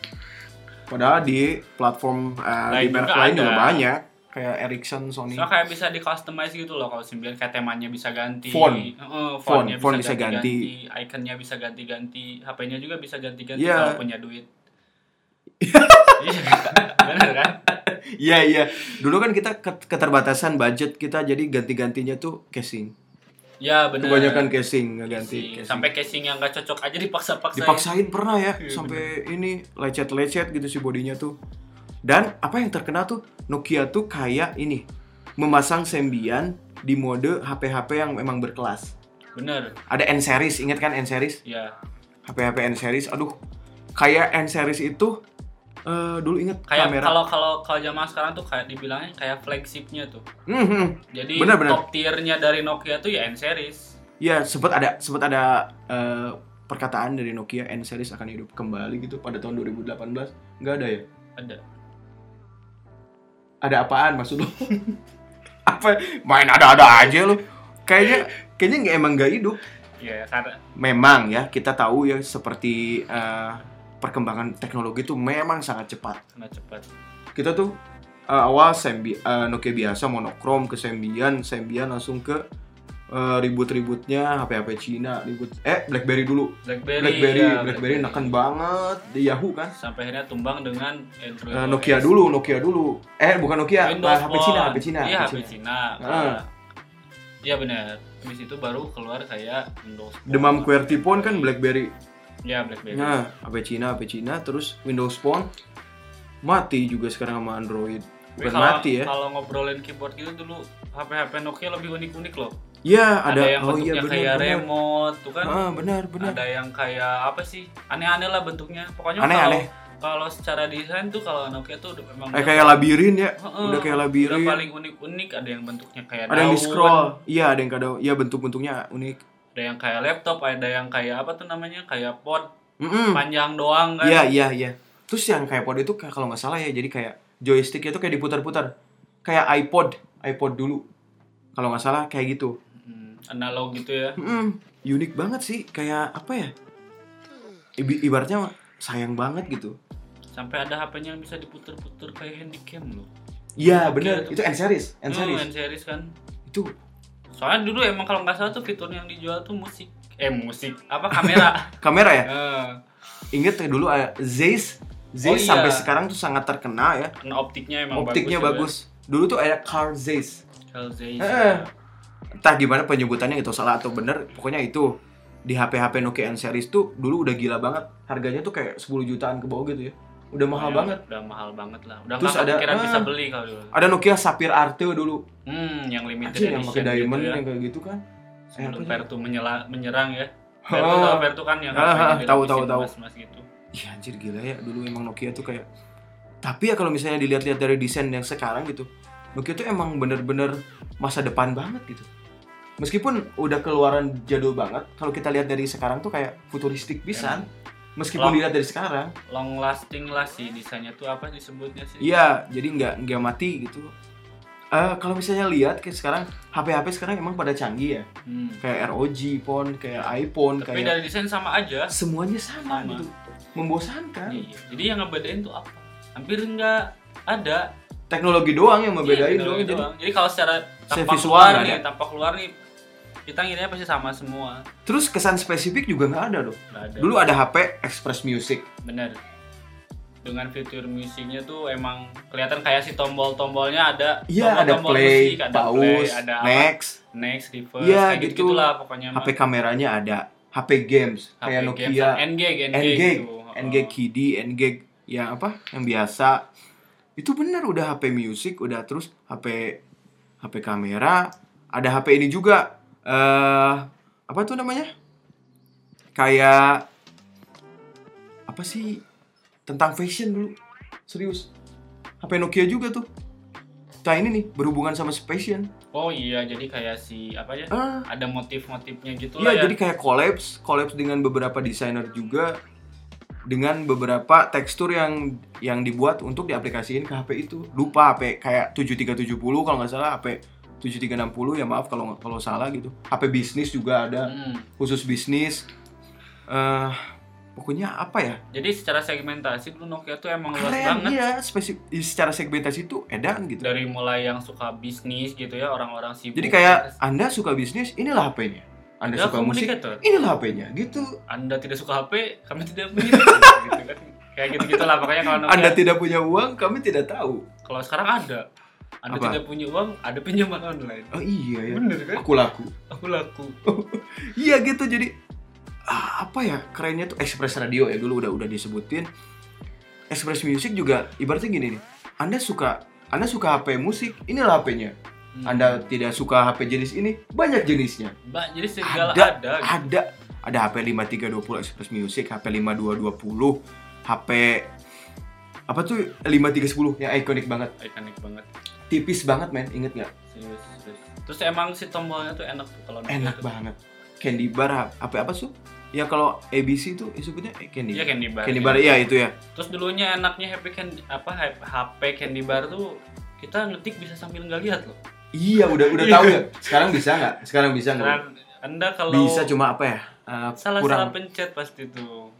[SPEAKER 1] padahal di platform eh, di
[SPEAKER 2] Lain
[SPEAKER 1] merek
[SPEAKER 2] juga
[SPEAKER 1] lain
[SPEAKER 2] ada.
[SPEAKER 1] juga banyak kayak Ericsson Sony
[SPEAKER 2] Soalnya kayak bisa di customize gitu loh kalau sembilan kayak temanya bisa ganti,
[SPEAKER 1] Font.
[SPEAKER 2] Eh,
[SPEAKER 1] Font,
[SPEAKER 2] fontnya
[SPEAKER 1] font
[SPEAKER 2] bisa
[SPEAKER 1] bisa
[SPEAKER 2] ganti, ganti, iconnya bisa ganti-ganti, HP-nya juga bisa ganti-ganti
[SPEAKER 1] Iya.
[SPEAKER 2] kalau punya duit. Iya, bener kan?
[SPEAKER 1] iya iya dulu kan kita ket- keterbatasan budget kita jadi ganti-gantinya tuh casing
[SPEAKER 2] Ya bener.
[SPEAKER 1] kebanyakan casing nggak ganti
[SPEAKER 2] Casing.
[SPEAKER 1] casing.
[SPEAKER 2] Sampai casing yang gak cocok aja dipaksa-paksa.
[SPEAKER 1] dipaksain pernah ya
[SPEAKER 2] Iya,
[SPEAKER 1] sampai ini lecet-lecet gitu si bodinya tuh dan apa yang terkenal tuh Nokia tuh kayak ini memasang Sembian di mode HP-HP yang memang berkelas
[SPEAKER 2] Bener.
[SPEAKER 1] ada N series inget kan N series
[SPEAKER 2] Ya.
[SPEAKER 1] HP HP N series aduh kayak N series itu eh, dulu inget
[SPEAKER 2] kayak
[SPEAKER 1] kamera.
[SPEAKER 2] kalau kalau kalau zaman sekarang tuh kayak dibilangnya kayak flagshipnya tuh
[SPEAKER 1] Mhm.
[SPEAKER 2] jadi
[SPEAKER 1] Benar, benar.
[SPEAKER 2] top tiernya dari Nokia tuh ya N series
[SPEAKER 1] Ya sempat ada sempat ada eh, perkataan dari Nokia N series akan hidup kembali gitu pada tahun 2018. Nggak ada ya?
[SPEAKER 2] ada
[SPEAKER 1] Ada apaan maksud lo? Apa? Main ada-ada aja lo. Kayaknya kayaknya nggak emang nggak hidup.
[SPEAKER 2] ya karena
[SPEAKER 1] Memang ya kita tahu ya seperti eh, perkembangan teknologi itu memang sangat cepat.
[SPEAKER 2] karena cepat
[SPEAKER 1] Kita tuh eh, awal sembi, eh, Nokia biasa monokrom ke Sembian, Sembian langsung ke eh, ribut-ributnya HP-HP Cina, ribut eh BlackBerry dulu.
[SPEAKER 2] BlackBerry
[SPEAKER 1] BlackBerry,
[SPEAKER 2] ya,
[SPEAKER 1] BlackBerry neken banget di Yahoo kan.
[SPEAKER 2] sampai akhirnya tumbang dengan Android
[SPEAKER 1] Eh,
[SPEAKER 2] OS.
[SPEAKER 1] Nokia dulu, Nokia dulu. Eh bukan Nokia,
[SPEAKER 2] Windows
[SPEAKER 1] eh, HP
[SPEAKER 2] Phone.
[SPEAKER 1] Cina, HP Cina.
[SPEAKER 2] iya
[SPEAKER 1] HP
[SPEAKER 2] HP
[SPEAKER 1] Cina.
[SPEAKER 2] Cina
[SPEAKER 1] Ah.
[SPEAKER 2] iya benar habis itu baru keluar kayak Windows Phone.
[SPEAKER 1] Demam QWERTY Phone kan BlackBerry.
[SPEAKER 2] iya BlackBerry
[SPEAKER 1] Nah, HP Cina, HP Cina, terus Windows Phone mati juga sekarang sama Android.
[SPEAKER 2] Tapi
[SPEAKER 1] Bukan
[SPEAKER 2] kalau-
[SPEAKER 1] mati ya.
[SPEAKER 2] kalau ngobrolin keyboard gitu dulu HP-HP Nokia lebih unik-unik loh
[SPEAKER 1] Iya,
[SPEAKER 2] ada,
[SPEAKER 1] ada,
[SPEAKER 2] yang
[SPEAKER 1] oh
[SPEAKER 2] bentuknya
[SPEAKER 1] iya benar.
[SPEAKER 2] kayak
[SPEAKER 1] benar.
[SPEAKER 2] remote tuh kan
[SPEAKER 1] Ah, benar, benar.
[SPEAKER 2] ada yang kayak apa sih aneh-aneh lah bentuknya pokoknya
[SPEAKER 1] Aneh,
[SPEAKER 2] kalau
[SPEAKER 1] aneh.
[SPEAKER 2] kalau secara desain tuh kalau Nokia tuh udah memang
[SPEAKER 1] Eh, kayak labirin ya.
[SPEAKER 2] Heeh,
[SPEAKER 1] udah kayak
[SPEAKER 2] udah
[SPEAKER 1] labirin.
[SPEAKER 2] paling unik-unik ada yang bentuknya kayak
[SPEAKER 1] Ada yang
[SPEAKER 2] daun,
[SPEAKER 1] di scroll. Iya, ada yang kadang ya bentuk-bentuknya unik.
[SPEAKER 2] ada yang kayak laptop ada yang kayak apa tuh namanya kayak pod
[SPEAKER 1] Mm-mm.
[SPEAKER 2] panjang doang kan
[SPEAKER 1] Hmm. Iya iya iya. Terus yang kayak pod itu kayak- kalau nggak salah ya jadi kayak joysticknya itu kayak diputar-putar. Kayak iPod, iPod dulu. Kalau nggak salah kayak gitu.
[SPEAKER 2] Hmm, analog gitu ya
[SPEAKER 1] Mm-mm. Unik banget sih. Kayak apa ya? Ibi- ibaratnya sayang banget gitu.
[SPEAKER 2] sampai ada HP-nya yang bisa diputer-puter kayak handycam loh
[SPEAKER 1] Iya bener.
[SPEAKER 2] Oke.
[SPEAKER 1] Itu N series, N
[SPEAKER 2] Hmm,
[SPEAKER 1] series.
[SPEAKER 2] N-series kan
[SPEAKER 1] Itu
[SPEAKER 2] soalnya dulu emang kalau nggak salah tuh fitur yang dijual tuh musik eh musik apa kamera
[SPEAKER 1] kamera ya.
[SPEAKER 2] Eh,
[SPEAKER 1] Ingat ya dulu eh, Zeiss, Zeiss
[SPEAKER 2] iya.
[SPEAKER 1] sampai sekarang tuh sangat terkenal ya.
[SPEAKER 2] karena kan optiknya emang
[SPEAKER 1] Optiknya Eh,
[SPEAKER 2] bagus,
[SPEAKER 1] bagus. Dulu tuh ada Carl Zeiss.
[SPEAKER 2] ya. Carl Zeiss.
[SPEAKER 1] Heeh. entah gimana penyebutannya itu salah atau bener pokoknya itu di HP HP Nokia N series tuh dulu udah gila banget harganya tuh kayak 10 jutaan ke bawah gitu ya udah mahal
[SPEAKER 2] Pokoknya
[SPEAKER 1] banget
[SPEAKER 2] udah mahal banget lah udah
[SPEAKER 1] Terus
[SPEAKER 2] nggak
[SPEAKER 1] ada-
[SPEAKER 2] kepikiran
[SPEAKER 1] ah.
[SPEAKER 2] bisa beli kalau dulu
[SPEAKER 1] ada Nokia Sapphire Arte dulu
[SPEAKER 2] hmm yang limited
[SPEAKER 1] Anjir, yang pakai
[SPEAKER 2] edition
[SPEAKER 1] diamond
[SPEAKER 2] gitu ya
[SPEAKER 1] yang kayak gitu kan
[SPEAKER 2] sebelum
[SPEAKER 1] Eh, apa
[SPEAKER 2] Vertu menyela- menyerang ya
[SPEAKER 1] Ah.
[SPEAKER 2] Vertu tau Vertu kan yang
[SPEAKER 1] Ah,
[SPEAKER 2] apa
[SPEAKER 1] ah, tahu, tahu, tahu.
[SPEAKER 2] mas mas gitu
[SPEAKER 1] iya anjir gila ya dulu emang Nokia tuh kayak tapi ya kalau misalnya dilihat-lihat dari desain yang sekarang gitu Nokia tuh emang bener-bener masa depan banget gitu meskipun udah keluaran jadul banget kalau kita lihat dari sekarang tuh kayak futuristik pisan meskipun
[SPEAKER 2] Long-
[SPEAKER 1] dilihat dari sekarang
[SPEAKER 2] long lasting lah sih desainnya tuh apa disebutnya sih
[SPEAKER 1] Iya, jadi nggak nggak mati gitu. Eh kalau misalnya lihat kayak sekarang HP-HP sekarang emang pada canggih ya,
[SPEAKER 2] Hmm.
[SPEAKER 1] kayak ROG phone, kayak iPhone,
[SPEAKER 2] tapi
[SPEAKER 1] kayak
[SPEAKER 2] dari desain sama aja
[SPEAKER 1] semuanya sama,
[SPEAKER 2] Sama.
[SPEAKER 1] gitu. Membosankan.
[SPEAKER 2] Iya. jadi yang ngebedain tuh apa hampir nggak ada
[SPEAKER 1] Teknologi doang yang membedain
[SPEAKER 2] Iya,
[SPEAKER 1] doang.
[SPEAKER 2] doang.
[SPEAKER 1] Jadi,
[SPEAKER 2] jadi kalau secara
[SPEAKER 1] Secara
[SPEAKER 2] tampak
[SPEAKER 1] visual
[SPEAKER 2] luar
[SPEAKER 1] nggak
[SPEAKER 2] nih
[SPEAKER 1] ada.
[SPEAKER 2] tampak luar nih kita ngiranya pasti sama semua
[SPEAKER 1] terus kesan spesifik juga nggak ada loh.
[SPEAKER 2] nggak ada
[SPEAKER 1] Dulu ada HP Express Music.
[SPEAKER 2] Bener. Dengan fitur musiknya tuh emang kelihatan kayak si tombol-tombolnya ada
[SPEAKER 1] Iya, ada
[SPEAKER 2] tombol-tombol
[SPEAKER 1] play,
[SPEAKER 2] musik, ada play,
[SPEAKER 1] pause,
[SPEAKER 2] ada apa,
[SPEAKER 1] next,
[SPEAKER 2] next, reverse,
[SPEAKER 1] Iya,
[SPEAKER 2] kayak
[SPEAKER 1] gitu.
[SPEAKER 2] gitu-gitulah pokoknya. mah.
[SPEAKER 1] HP kameranya ada, HP games
[SPEAKER 2] HP
[SPEAKER 1] kayak
[SPEAKER 2] games,
[SPEAKER 1] Nokia,
[SPEAKER 2] NG, NG,
[SPEAKER 1] NG,
[SPEAKER 2] gitu.
[SPEAKER 1] NG Kiddy, NG yang ya apa? Yang biasa. Itu benar udah HP music, udah terus HP HP kamera, ada HP ini juga eh apa tuh namanya? Kayak apa sih tentang fashion dulu. Serius. HP Nokia juga tuh. Nah ini nih berhubungan sama fashion.
[SPEAKER 2] Oh iya, jadi kayak si apa ya?
[SPEAKER 1] Ah,
[SPEAKER 2] Ada motif-motifnya gitu
[SPEAKER 1] Iya,
[SPEAKER 2] lah ya.
[SPEAKER 1] jadi kayak collabs, collabs dengan beberapa desainer juga dengan beberapa tekstur yang yang dibuat untuk diaplikasiin ke HP itu. Lupa HP kayak 7370 kalau nggak salah HP 7360 ya maaf kalau kalau salah gitu. HP bisnis juga ada,
[SPEAKER 2] Hmm.
[SPEAKER 1] khusus bisnis. Eh pokoknya apa ya?
[SPEAKER 2] Jadi secara segmentasi dulu Nokia tuh emang luas
[SPEAKER 1] Keren
[SPEAKER 2] banget.
[SPEAKER 1] iya, spesif- secara segmentasi itu edan gitu.
[SPEAKER 2] Dari mulai yang suka bisnis gitu ya, orang-orang sibuk.
[SPEAKER 1] Jadi kayak Anda suka bisnis, inilah HP-nya. Anda
[SPEAKER 2] Ada
[SPEAKER 1] suka musik,
[SPEAKER 2] komunikator.
[SPEAKER 1] inilah HP-nya gitu.
[SPEAKER 2] Anda tidak suka HP, kami tidak punya. gitu kan. Kayak gitu-gitulah makanya kalau Nokia,
[SPEAKER 1] Anda tidak punya uang, kami tidak tahu.
[SPEAKER 2] kalau sekarang ada. Anda
[SPEAKER 1] Apa?
[SPEAKER 2] tidak punya uang, ada pinjaman online.
[SPEAKER 1] Oh iya ya.
[SPEAKER 2] Bener kan?
[SPEAKER 1] aku laku
[SPEAKER 2] Aku laku.
[SPEAKER 1] iya gitu jadi ah, apa ya kerennya tuh Express Radio ya dulu udah udah disebutin Express Music juga ibaratnya gini nih Anda suka Anda suka HP musik inilah HP-nya
[SPEAKER 2] Hmm.
[SPEAKER 1] Anda tidak suka HP jenis ini banyak jenisnya
[SPEAKER 2] Mbak, jadi segala
[SPEAKER 1] Ada.
[SPEAKER 2] ada.
[SPEAKER 1] ada ada HP 5320 Express Music HP 5220 HP apa tuh 5310 yang ikonik banget
[SPEAKER 2] ikonik banget
[SPEAKER 1] tipis banget men inget nggak
[SPEAKER 2] serius, serius. terus emang si tombolnya tuh enak tuh kalau
[SPEAKER 1] enak banget candy bar apa apa sih ya kalau ABC itu disebutnya eh, candy
[SPEAKER 2] Iya
[SPEAKER 1] bar.
[SPEAKER 2] candy bar.
[SPEAKER 1] candy bar ya itu ya
[SPEAKER 2] Terus dulunya enaknya happy candy apa H- HP candy bar tuh kita ngetik bisa sambil nggak lihat loh.
[SPEAKER 1] iya udah udah tahu ya sekarang bisa nggak sekarang bisa nggak
[SPEAKER 2] Karena anda kalau
[SPEAKER 1] bisa cuma apa ya eh,
[SPEAKER 2] salah
[SPEAKER 1] kurang
[SPEAKER 2] salah pencet pasti tuh.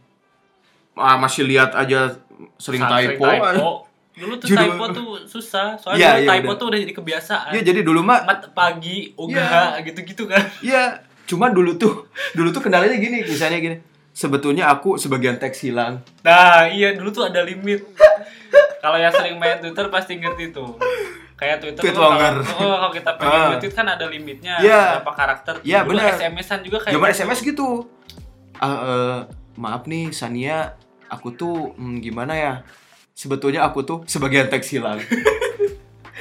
[SPEAKER 1] Ah, masih lihat aja sering
[SPEAKER 2] Saat
[SPEAKER 1] typo
[SPEAKER 2] Dulu tuh
[SPEAKER 1] Judul-
[SPEAKER 2] typo tuh susah, soalnya
[SPEAKER 1] Iya,
[SPEAKER 2] dulu
[SPEAKER 1] iya,
[SPEAKER 2] typo
[SPEAKER 1] udah.
[SPEAKER 2] tuh udah jadi kebiasaan.
[SPEAKER 1] ya jadi dulu mah
[SPEAKER 2] Mat pagi, ogah gitu-gitu kan.
[SPEAKER 1] Iya, cuma dulu tuh, dulu tuh kendalanya gini, misalnya gini. Sebetulnya aku sebagian teks hilang.
[SPEAKER 2] Nah, iya dulu tuh ada limit. kalau yang sering main Twitter pasti ngerti tuh. Kayak Twitter
[SPEAKER 1] Tweet
[SPEAKER 2] tuh kalau-
[SPEAKER 1] longer.
[SPEAKER 2] oh, kalau kita pengen
[SPEAKER 1] Ah.
[SPEAKER 2] nge-tweet kan ada limitnya
[SPEAKER 1] Iya.
[SPEAKER 2] berapa karakter.
[SPEAKER 1] Iya,
[SPEAKER 2] Dulu
[SPEAKER 1] benar.
[SPEAKER 2] SMS-an juga kayak
[SPEAKER 1] Zaman
[SPEAKER 2] gitu.
[SPEAKER 1] SMS gitu. Ah, eh, maaf nih Sania, aku tuh hmm, gimana ya? Sebetulnya aku tuh sebagian teks hilang.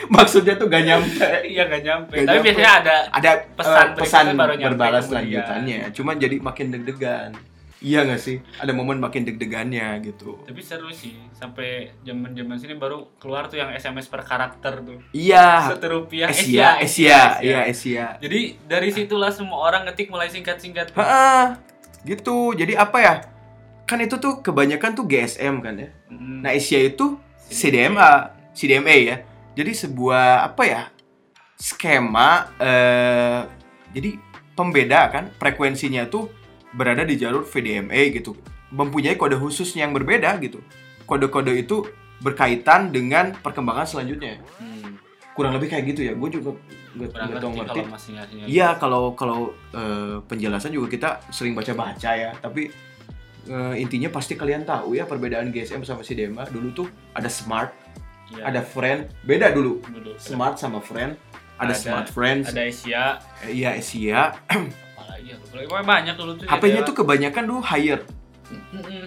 [SPEAKER 1] Maksudnya tuh gak nyampe.
[SPEAKER 2] Iya nggak nyampe.
[SPEAKER 1] Nggak
[SPEAKER 2] Tapi
[SPEAKER 1] nyampe.
[SPEAKER 2] biasanya ada
[SPEAKER 1] Ada
[SPEAKER 2] Pesan
[SPEAKER 1] pesan pesan
[SPEAKER 2] berikutnya baru nyampe
[SPEAKER 1] berbalas
[SPEAKER 2] kemudian.
[SPEAKER 1] lanjutannya. Cuma jadi makin deg-degan. Iya gak sih? Ada momen makin deg-degannya gitu.
[SPEAKER 2] tapi seru sih sampai zaman zaman sini baru keluar tuh yang SMS per karakter tuh
[SPEAKER 1] Iya.
[SPEAKER 2] satu rupiah
[SPEAKER 1] Asia, Asia, iya Asia.
[SPEAKER 2] jadi dari situlah semua orang ngetik mulai singkat singkat
[SPEAKER 1] Heeh. Gitu. Jadi apa ya? Kan itu tuh kebanyakan tuh GSM kan ya.
[SPEAKER 2] Hmm.
[SPEAKER 1] Nah, Asia itu CDMA, CDMA ya. Jadi sebuah apa ya? skema eh jadi pembeda kan frekuensinya tuh berada di jalur VDMA gitu. Mempunyai kode khusus yang berbeda gitu. Kode-kode itu berkaitan dengan perkembangan selanjutnya. Kurang lebih kayak gitu ya. Gue juga nggak
[SPEAKER 2] kurang
[SPEAKER 1] nggak tahu
[SPEAKER 2] ngerti
[SPEAKER 1] Hmm. ngerti
[SPEAKER 2] kalau masih ngasihnya
[SPEAKER 1] Iya kalau kalau eh, penjelasan juga kita sering baca-baca ya, tapi eh, intinya pasti kalian tahu ya perbedaan GSM sama CDMA. Dulu tuh ada smart,
[SPEAKER 2] Iya.
[SPEAKER 1] ada friend, beda dulu.
[SPEAKER 2] Dulu.
[SPEAKER 1] Smart sama friend, ada,
[SPEAKER 2] Ada-
[SPEAKER 1] smart friends,
[SPEAKER 2] ada Asia
[SPEAKER 1] eh, iya Asia.
[SPEAKER 2] apalagi ya lupa lagi. Pokoknya banyak dulu tuh
[SPEAKER 1] HP-nya tuh kebanyakan dulu higher,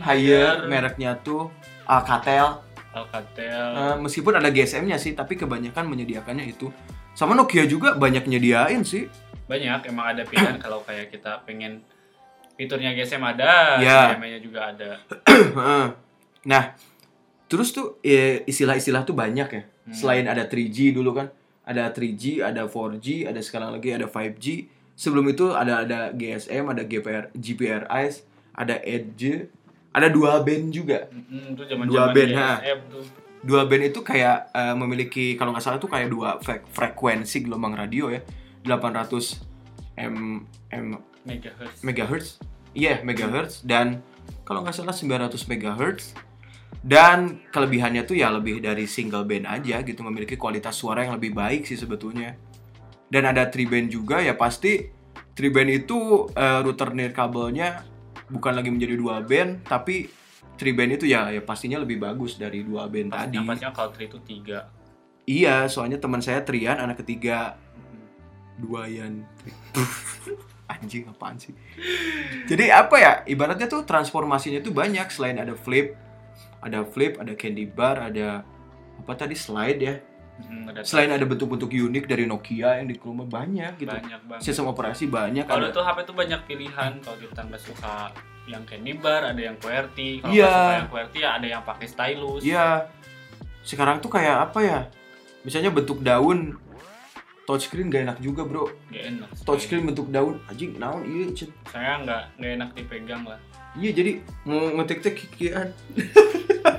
[SPEAKER 1] higher mereknya tuh Alcatel.
[SPEAKER 2] Alcatel
[SPEAKER 1] Eh, meskipun ada GSM-nya sih, tapi kebanyakan menyediakannya itu. Sama Nokia juga banyak nyediain sih.
[SPEAKER 2] banyak emang ada pilihan kalau kayak kita pengen fiturnya GSM ada
[SPEAKER 1] Iya.
[SPEAKER 2] CDMA-nya juga ada
[SPEAKER 1] Heeh. nah, terus tuh eh, istilah-istilah tuh banyak ya.
[SPEAKER 2] Hmm.
[SPEAKER 1] Selain ada 3G dulu kan, ada 3G, ada 4G, ada sekarang lagi ada 5G. Sebelum itu ada ada GSM, ada GPR, GPRS, ada Edge, ada dua band juga.
[SPEAKER 2] Mm, itu zaman
[SPEAKER 1] Dua
[SPEAKER 2] zaman
[SPEAKER 1] band, ha.
[SPEAKER 2] GSM tuh
[SPEAKER 1] Dua band itu kayak eh, memiliki kalau nggak salah tuh kayak dua fre- frekuensi gelombang radio ya, 800 m m
[SPEAKER 2] megahertz
[SPEAKER 1] megahertz iya megahertz dan kalau nggak salah 900 megahertz dan kelebihannya tuh ya lebih dari single band aja gitu memiliki kualitas suara yang lebih baik sih sebetulnya dan ada tri band juga ya pasti tri band itu eh, router nirkabelnya bukan lagi menjadi dua band tapi tri band itu ya ya pastinya lebih bagus dari dua band tadi
[SPEAKER 2] Yang pastinya kalau tri itu tiga
[SPEAKER 1] iya soalnya teman saya Trian anak ketiga duayan anjing apaan sih jadi apa ya ibaratnya tuh transformasinya tuh banyak selain ada flip ada flip ada candy bar ada apa tadi slide ya
[SPEAKER 2] Mm, ada
[SPEAKER 1] selain ada bentuk-bentuk unik dari Nokia yang di rumah banyak gitu
[SPEAKER 2] banyak banget
[SPEAKER 1] sistem operasi banyak ada
[SPEAKER 2] kalau tuh HP tuh banyak pilihan kalau kita nggak suka yang candy bar ada yang QWERTY kalau
[SPEAKER 1] Iya.
[SPEAKER 2] nggak suka yang QWERTY ya ada yang pakai stylus
[SPEAKER 1] iya sekarang tuh kayak apa ya misalnya bentuk daun touchscreen gak enak juga bro
[SPEAKER 2] Nggak enak sih.
[SPEAKER 1] touchscreen bentuk daun anjing naon iya Cen.
[SPEAKER 2] saya nggak nggak enak dipegang lah
[SPEAKER 1] Iya jadi mau ngetik-tek kikian.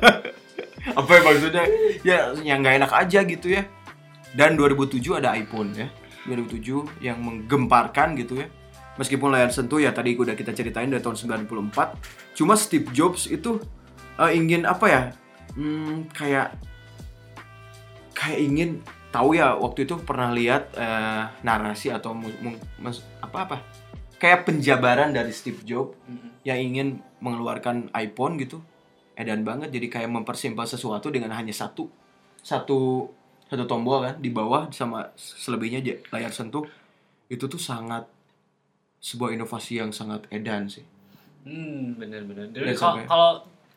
[SPEAKER 1] Apa yang maksudnya? Ya yang nggak enak aja gitu ya. Dan 2007 ada iPhone ya. 2007 yang menggemparkan gitu ya. Meskipun layar sentuh ya tadi udah kita ceritain dari tahun 94. Cuma Steve Jobs itu eh, ingin apa ya? Hmm, kayak kayak ingin tahu ya waktu itu pernah lihat eh, narasi atau mu- mu- mas- apa-apa kayak penjabaran dari Steve Jobs
[SPEAKER 2] Mm-mm.
[SPEAKER 1] yang ingin mengeluarkan iPhone gitu edan banget jadi kayak mempersimpel sesuatu dengan hanya satu satu satu tombol kan di bawah sama selebihnya aja layar sentuh itu tuh sangat sebuah inovasi yang sangat edan sih
[SPEAKER 2] Hmm, bener-bener.
[SPEAKER 1] Ya,
[SPEAKER 2] Jadi kalau
[SPEAKER 1] sampai-
[SPEAKER 2] kalau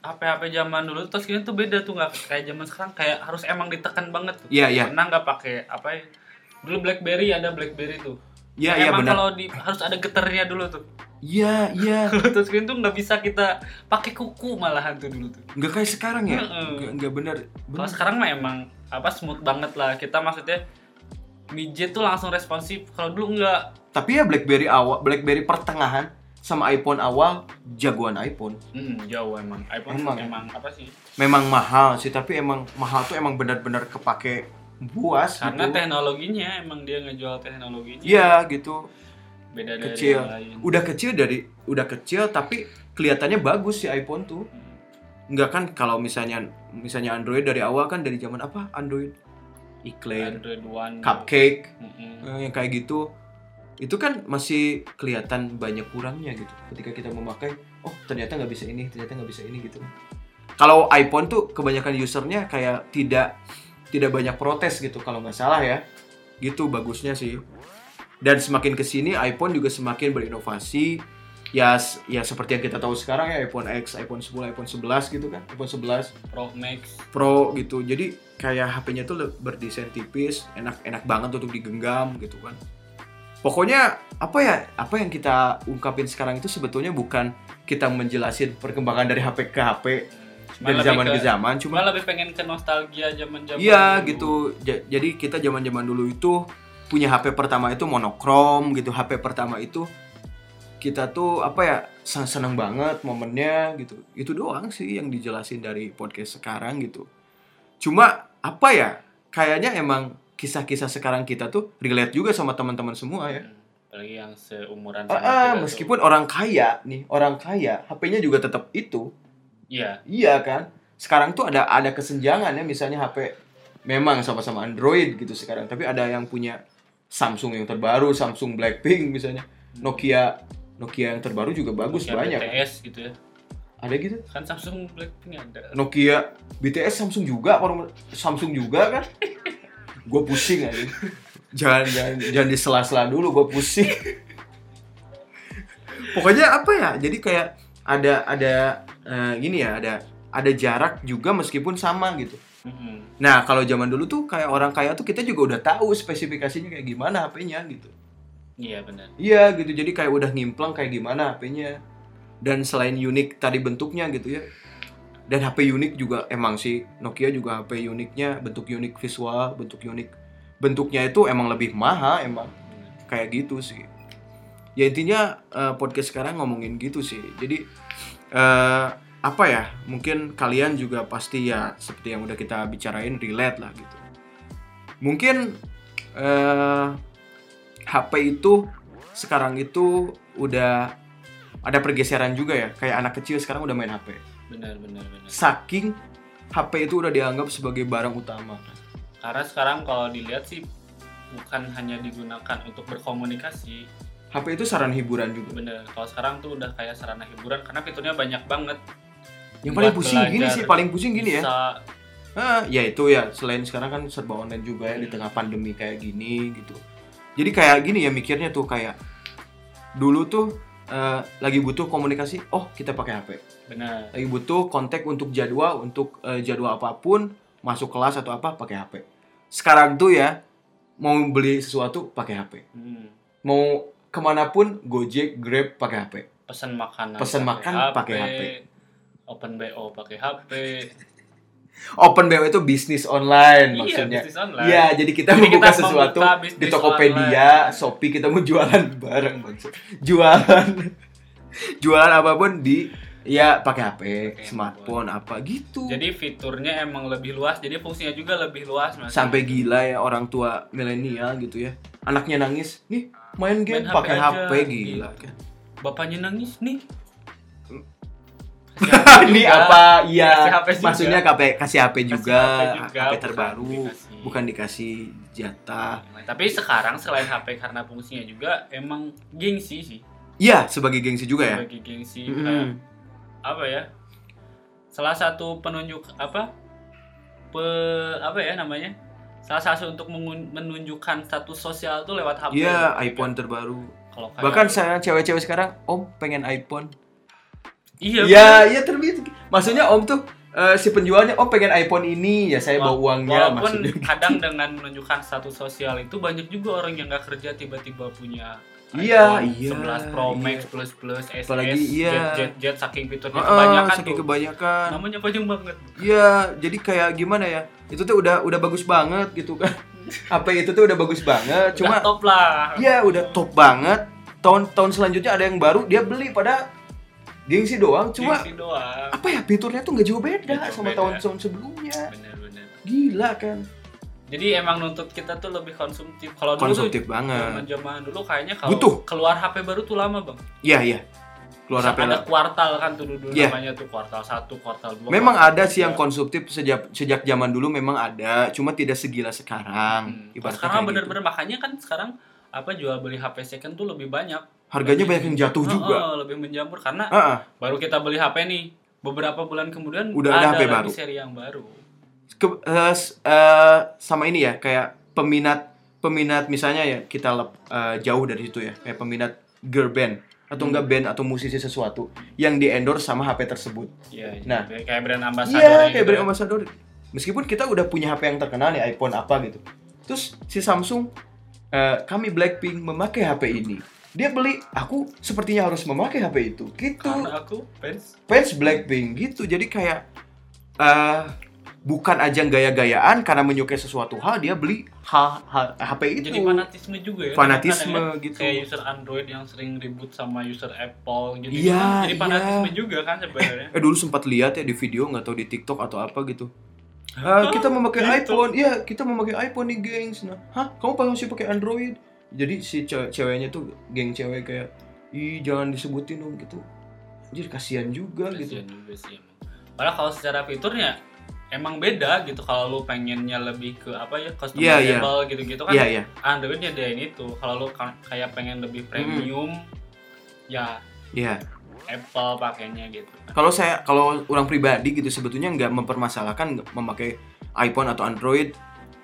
[SPEAKER 2] HP-HP zaman dulu touchscreen tuh beda tuh nggak kayak zaman sekarang kayak harus emang ditekan banget tuh.
[SPEAKER 1] iya iya
[SPEAKER 2] Pernah nggak pakai apa ya? Dulu BlackBerry ada BlackBerry tuh.
[SPEAKER 1] Iya, iya
[SPEAKER 2] Emang
[SPEAKER 1] benar.
[SPEAKER 2] kalau di, harus ada getarnya dulu tuh.
[SPEAKER 1] Iya, iya.
[SPEAKER 2] Kalau touchscreen tuh nggak bisa kita pakai kuku malahan tuh dulu tuh.
[SPEAKER 1] Nggak kayak sekarang ya?
[SPEAKER 2] Heeh.
[SPEAKER 1] Nggak, nggak benar.
[SPEAKER 2] Kalau
[SPEAKER 1] Benar.
[SPEAKER 2] sekarang mah emang apa smooth banget lah. Kita maksudnya midget tuh langsung responsif. Kalau dulu nggak.
[SPEAKER 1] Tapi ya BlackBerry awal, BlackBerry pertengahan sama iPhone awal jagoan iPhone.
[SPEAKER 2] Hmm, jauh emang. iPhone
[SPEAKER 1] Emang. ya?
[SPEAKER 2] emang. apa sih?
[SPEAKER 1] Memang mahal sih, tapi emang mahal tuh emang benar-benar kepake buas
[SPEAKER 2] Karena
[SPEAKER 1] gitu.
[SPEAKER 2] teknologinya emang dia ngejual teknologinya.
[SPEAKER 1] Iya gitu.
[SPEAKER 2] Beda dari
[SPEAKER 1] Kecil.
[SPEAKER 2] yang lain.
[SPEAKER 1] Udah kecil dari udah kecil tapi kelihatannya bagus si iPhone tuh.
[SPEAKER 2] Hmm.
[SPEAKER 1] Nggak kan kalau misalnya misalnya Android dari awal kan dari zaman apa Android? Eclair,
[SPEAKER 2] Android One.
[SPEAKER 1] Cupcake,
[SPEAKER 2] Mm-mm.
[SPEAKER 1] Eh, yang kayak gitu itu kan masih kelihatan banyak kurangnya gitu ketika kita memakai oh ternyata nggak bisa ini ternyata nggak bisa ini gitu kalau iPhone tuh kebanyakan usernya kayak tidak tidak banyak protes gitu kalau nggak salah ya gitu bagusnya sih dan semakin kesini iPhone juga semakin berinovasi ya s- ya seperti yang kita tahu sekarang ya iPhone X iPhone 10 iPhone 11 gitu kan iPhone 11
[SPEAKER 2] Pro Max.
[SPEAKER 1] Pro gitu. Jadi kayak HP-nya tuh le- berdesain tipis, enak-enak banget untuk digenggam gitu kan. Pokoknya apa ya? Apa yang kita ungkapin sekarang itu sebetulnya bukan kita menjelasin perkembangan dari HP ke HP
[SPEAKER 2] Cuma
[SPEAKER 1] dari
[SPEAKER 2] lebih
[SPEAKER 1] zaman ke,
[SPEAKER 2] ke-
[SPEAKER 1] zaman, cuma
[SPEAKER 2] Cuma lebih pengen ke nostalgia zaman-zaman.
[SPEAKER 1] iya
[SPEAKER 2] dulu.
[SPEAKER 1] gitu. Ja- Jadi kita zaman-zaman dulu itu punya HP pertama itu monokrom gitu. HP pertama itu kita tuh apa ya sen- seneng banget momennya gitu itu doang sih yang dijelasin dari podcast sekarang gitu cuma apa ya kayaknya emang kisah-kisah sekarang kita tuh relate juga sama teman-teman semua ya
[SPEAKER 2] Hmm. Apalagi yang seumuran
[SPEAKER 1] Ah,
[SPEAKER 2] kita
[SPEAKER 1] ah,
[SPEAKER 2] tuh.
[SPEAKER 1] meskipun orang kaya nih orang kaya HP-nya juga tetap itu
[SPEAKER 2] Iya.
[SPEAKER 1] iya kan sekarang tuh ada ada kesenjangan ya misalnya HP memang sama-sama Android gitu sekarang tapi ada yang punya Samsung yang terbaru Samsung Blackpink misalnya Nokia Nokia yang terbaru juga bagus
[SPEAKER 2] Nokia
[SPEAKER 1] banyak
[SPEAKER 2] BTS gitu ya.
[SPEAKER 1] ada gitu
[SPEAKER 2] Kan Samsung Blackpink ada.
[SPEAKER 1] Nokia BTS Samsung juga apa nomor- Samsung juga kan gue pusing aja jangan jangan jangan disela-sela dulu gue pusing pokoknya apa ya jadi kayak ada ada eh, gini ya ada ada jarak juga meskipun sama gitu
[SPEAKER 2] Mm-mm.
[SPEAKER 1] nah kalau zaman dulu tuh kayak orang kaya tuh kita juga udah tahu spesifikasinya kayak gimana HP-nya gitu
[SPEAKER 2] Iya benar.
[SPEAKER 1] Iya gitu, jadi kayak udah ngimplang kayak gimana HP-nya. Dan selain unik tadi bentuknya gitu ya. Dan HP unik juga emang sih Nokia juga HP uniknya, bentuk unik visual, bentuk unik. Bentuknya itu emang lebih mahal emang kayak gitu sih. Ya intinya eh, podcast sekarang ngomongin gitu sih. Jadi eh, apa ya? Mungkin kalian juga pasti ya seperti yang udah kita bicarain relate lah gitu. Mungkin eh, HP itu sekarang itu udah ada pergeseran juga ya. Kayak anak kecil sekarang udah main HP.
[SPEAKER 2] Benar benar benar.
[SPEAKER 1] Saking HP itu udah dianggap sebagai barang utama.
[SPEAKER 2] Karena sekarang kalau dilihat sih bukan hanya digunakan untuk berkomunikasi.
[SPEAKER 1] HP itu saran hiburan juga.
[SPEAKER 2] Bener. Kalau sekarang tuh udah kayak sarana hiburan karena fiturnya banyak banget.
[SPEAKER 1] Yang
[SPEAKER 2] Buat
[SPEAKER 1] paling pusing gini
[SPEAKER 2] belajar.
[SPEAKER 1] sih, paling pusing gini ya.
[SPEAKER 2] Bisa
[SPEAKER 1] Ah, ya itu ya. Selain sekarang kan serba online juga ya di tengah pandemi kayak gini gitu. Jadi kayak gini ya mikirnya tuh kayak dulu tuh eh, lagi butuh komunikasi, oh kita pakai HP.
[SPEAKER 2] benar.
[SPEAKER 1] Lagi butuh kontak untuk jadwal, untuk eh, jadwal apapun, masuk kelas atau apa pakai HP. Sekarang tuh ya mau beli sesuatu pakai HP.
[SPEAKER 2] Hmm.
[SPEAKER 1] Mau kemanapun Gojek, Grab pakai HP.
[SPEAKER 2] Pesan makanan.
[SPEAKER 1] Pesan makan pakai HP.
[SPEAKER 2] Open BO pakai HP.
[SPEAKER 1] Open BO itu bisnis online
[SPEAKER 2] Iya,
[SPEAKER 1] maksudnya.
[SPEAKER 2] bisnis online.
[SPEAKER 1] Iya, jadi kita
[SPEAKER 2] Jadi
[SPEAKER 1] membuka
[SPEAKER 2] kita
[SPEAKER 1] sesuatu
[SPEAKER 2] membuka bisnis
[SPEAKER 1] di Tokopedia,
[SPEAKER 2] online.
[SPEAKER 1] Shopee kita mau jualan bareng maksud. Jualan. jualan apapun di ya pakai HP,
[SPEAKER 2] Pakai
[SPEAKER 1] smartphone apa gitu.
[SPEAKER 2] Jadi fiturnya emang lebih luas, jadi fungsinya juga lebih luas mas.
[SPEAKER 1] Sampai gila ya orang tua milenial gitu ya. Anaknya nangis, "Nih, main game
[SPEAKER 2] Main
[SPEAKER 1] pakai
[SPEAKER 2] HP
[SPEAKER 1] HP,
[SPEAKER 2] aja." Gitu.
[SPEAKER 1] gila."
[SPEAKER 2] bapaknya nangis nih.
[SPEAKER 1] Ini
[SPEAKER 2] Juga.
[SPEAKER 1] apa? Iya,
[SPEAKER 2] Kasih HP juga.
[SPEAKER 1] maksudnya KP- kasih HP
[SPEAKER 2] Kasih
[SPEAKER 1] juga,
[SPEAKER 2] HP juga,
[SPEAKER 1] HP
[SPEAKER 2] bukan
[SPEAKER 1] terbaru,
[SPEAKER 2] dikasih.
[SPEAKER 1] bukan dikasih jatah.
[SPEAKER 2] Tapi sekarang selain HP karena fungsinya juga emang gengsi sih.
[SPEAKER 1] Iya, sebagai gengsi juga ya.
[SPEAKER 2] Bagi gengsi
[SPEAKER 1] Mm-mm.
[SPEAKER 2] kayak apa ya? Salah satu penunjuk apa? Pe, apa ya namanya? Salah satu untuk mengun- menunjukkan status sosial tuh lewat HP.
[SPEAKER 1] Iya, iPhone terbaru.
[SPEAKER 2] Kalau kayak-
[SPEAKER 1] Bahkan saya cewek-cewek sekarang, Om pengen iPhone.
[SPEAKER 2] Iya.
[SPEAKER 1] ya, Iya, iya terbit. Maksudnya Om tuh eh, si penjualnya oh pengen iPhone ini ya saya bawa
[SPEAKER 2] Wal-
[SPEAKER 1] uangnya
[SPEAKER 2] walaupun
[SPEAKER 1] maksudnya
[SPEAKER 2] kadang dengan menunjukkan status sosial itu banyak juga orang yang nggak kerja tiba-tiba punya
[SPEAKER 1] Iya, iya,
[SPEAKER 2] iPhone 11 Pro
[SPEAKER 1] iya.
[SPEAKER 2] Max plus plus SS
[SPEAKER 1] Apalagi, iya.
[SPEAKER 2] jet, jet jet saking fiturnya
[SPEAKER 1] Ah,
[SPEAKER 2] kebanyakan
[SPEAKER 1] saking
[SPEAKER 2] tuh
[SPEAKER 1] kebanyakan
[SPEAKER 2] namanya panjang banget
[SPEAKER 1] Iya, jadi kayak gimana ya? Itu tuh udah udah bagus banget gitu kan. Apa itu tuh udah bagus banget, cuma
[SPEAKER 2] cuma top lah
[SPEAKER 1] ya udah top banget. Tahun-tahun selanjutnya ada yang baru, dia beli pada gengsi doang, cuma
[SPEAKER 2] Diisi doang
[SPEAKER 1] apa ya fiturnya tuh nggak jauh
[SPEAKER 2] Nggak
[SPEAKER 1] beda
[SPEAKER 2] jauh
[SPEAKER 1] sama
[SPEAKER 2] beda.
[SPEAKER 1] tahun-tahun sebelumnya.
[SPEAKER 2] bener-bener
[SPEAKER 1] Gila kan.
[SPEAKER 2] jadi emang nuntut kita tuh lebih konsumtif kalau dulu tuh
[SPEAKER 1] Konsumtif banget.
[SPEAKER 2] zaman dulu kayaknya kalau
[SPEAKER 1] Butuh.
[SPEAKER 2] keluar HP baru tuh lama bang
[SPEAKER 1] Iya, iya. Keluar
[SPEAKER 2] Bisa
[SPEAKER 1] apa ya?
[SPEAKER 2] ada kuartal kan tuh dulu
[SPEAKER 1] Iya.
[SPEAKER 2] namanya tuh kuartal satu kuartal dua
[SPEAKER 1] Memang
[SPEAKER 2] kuartal
[SPEAKER 1] ada sih
[SPEAKER 2] tiga.
[SPEAKER 1] yang konsumtif sejak sejak zaman dulu memang ada, cuma tidak segila sekarang.
[SPEAKER 2] Hmm.
[SPEAKER 1] Ibaratnya
[SPEAKER 2] sekarang
[SPEAKER 1] kayak gitu.
[SPEAKER 2] bener-bener makanya kan sekarang apa jual beli HP second tuh lebih banyak.
[SPEAKER 1] Harganya banyak yang jatuh
[SPEAKER 2] Heeh,
[SPEAKER 1] juga.
[SPEAKER 2] lebih menjamur karena
[SPEAKER 1] Heeh.
[SPEAKER 2] baru kita beli HP nih beberapa bulan kemudian
[SPEAKER 1] Udah ada HP
[SPEAKER 2] lagi
[SPEAKER 1] baru.
[SPEAKER 2] seri yang baru.
[SPEAKER 1] ke- eh, s- eh, sama ini ya kayak peminat peminat misalnya ya kita lep- eh, jauh dari situ ya kayak peminat girl band atau
[SPEAKER 2] Hmm.
[SPEAKER 1] enggak band atau musisi sesuatu yang di endorse sama HP tersebut.
[SPEAKER 2] Iya.
[SPEAKER 1] Nah.
[SPEAKER 2] jadi kayak brand ambassador. gitu ya.
[SPEAKER 1] Iya kayak brand ambassador. Meskipun kita udah punya HP yang terkenal nih iPhone apa gitu. Terus si Samsung eh, kami Blackpink memakai HP ini. Dia beli, aku sepertinya harus memakai HP itu. Gitu.
[SPEAKER 2] Karena aku fans.
[SPEAKER 1] fans Blackpink gitu jadi kayak eh bukan ajang gaya-gayaan karena menyukai sesuatu hal dia beli hal, hal- HP itu
[SPEAKER 2] Jadi fanatisme juga ya.
[SPEAKER 1] Gitu. Fanatisme
[SPEAKER 2] kadang-kadang ya,
[SPEAKER 1] gitu.
[SPEAKER 2] Kayak user Android yang sering ribut sama user Apple gitu.
[SPEAKER 1] Iya,
[SPEAKER 2] kan. Jadi
[SPEAKER 1] iya.
[SPEAKER 2] fanatisme juga kan sebenarnya.
[SPEAKER 1] eh dulu sempat lihat ya di video nggak tahu di TikTok atau apa gitu Eh, kita memakai
[SPEAKER 2] Gitu.
[SPEAKER 1] iPhone iya kita memakai iPhone nih gengs nah hah kamu pas- masih pakai Android jadi si ce- ceweknya tuh geng cewek kayak ih jangan disebutin dong gitu jadi kasihan juga gitu
[SPEAKER 2] Kasian juga sih emang. Padahal kalau secara fiturnya emang beda gitu kalau lu pengennya lebih ke apa ya
[SPEAKER 1] Iya, iya.
[SPEAKER 2] customizable gitu-gitu kan
[SPEAKER 1] iya iya
[SPEAKER 2] Android ya dia ini tuh kalau lu ka- kayak pengen lebih premium ya
[SPEAKER 1] iya
[SPEAKER 2] Apple pakainya gitu kan.
[SPEAKER 1] kalau saya kalau orang pribadi gitu sebetulnya nggak mempermasalahkan nggak memakai iPhone atau Android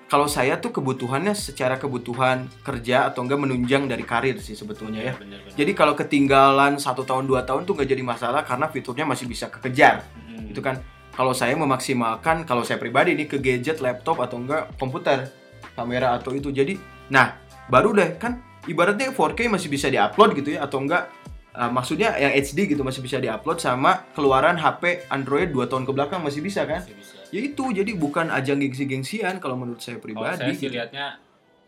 [SPEAKER 1] kalau saya tuh kebutuhannya secara kebutuhan kerja atau enggak menunjang dari karir sih sebetulnya ya
[SPEAKER 2] bener-bener.
[SPEAKER 1] jadi kalau ketinggalan satu tahun dua tahun tuh nggak jadi masalah karena fiturnya masih bisa kekejar
[SPEAKER 2] Mm.
[SPEAKER 1] itu kan kalau saya memaksimalkan kalau saya pribadi nih ke gadget laptop atau enggak komputer kamera atau itu jadi nah baru deh kan ibaratnya 4K masih bisa diupload gitu ya atau enggak eh, maksudnya yang HD gitu masih bisa diupload sama keluaran HP Android 2 tahun ke belakang masih bisa kan
[SPEAKER 2] Masih bisa.
[SPEAKER 1] ya itu jadi bukan ajang gengsi-gengsian kalau menurut saya
[SPEAKER 2] Kalau saya
[SPEAKER 1] pribadi gitu.
[SPEAKER 2] sih lihatnya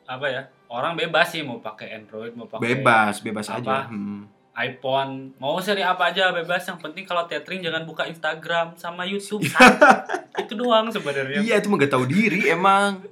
[SPEAKER 2] apa ya? Orang bebas sih mau pakai Android, mau pakai
[SPEAKER 1] bebas bebas
[SPEAKER 2] Apa?
[SPEAKER 1] aja Hmm.
[SPEAKER 2] iPhone, mau seri apa aja bebas. Yang penting kalau tethering jangan buka Instagram sama YouTube. Sat. itu doang sebenarnya.
[SPEAKER 1] Iya itu mah gak tahu diri emang.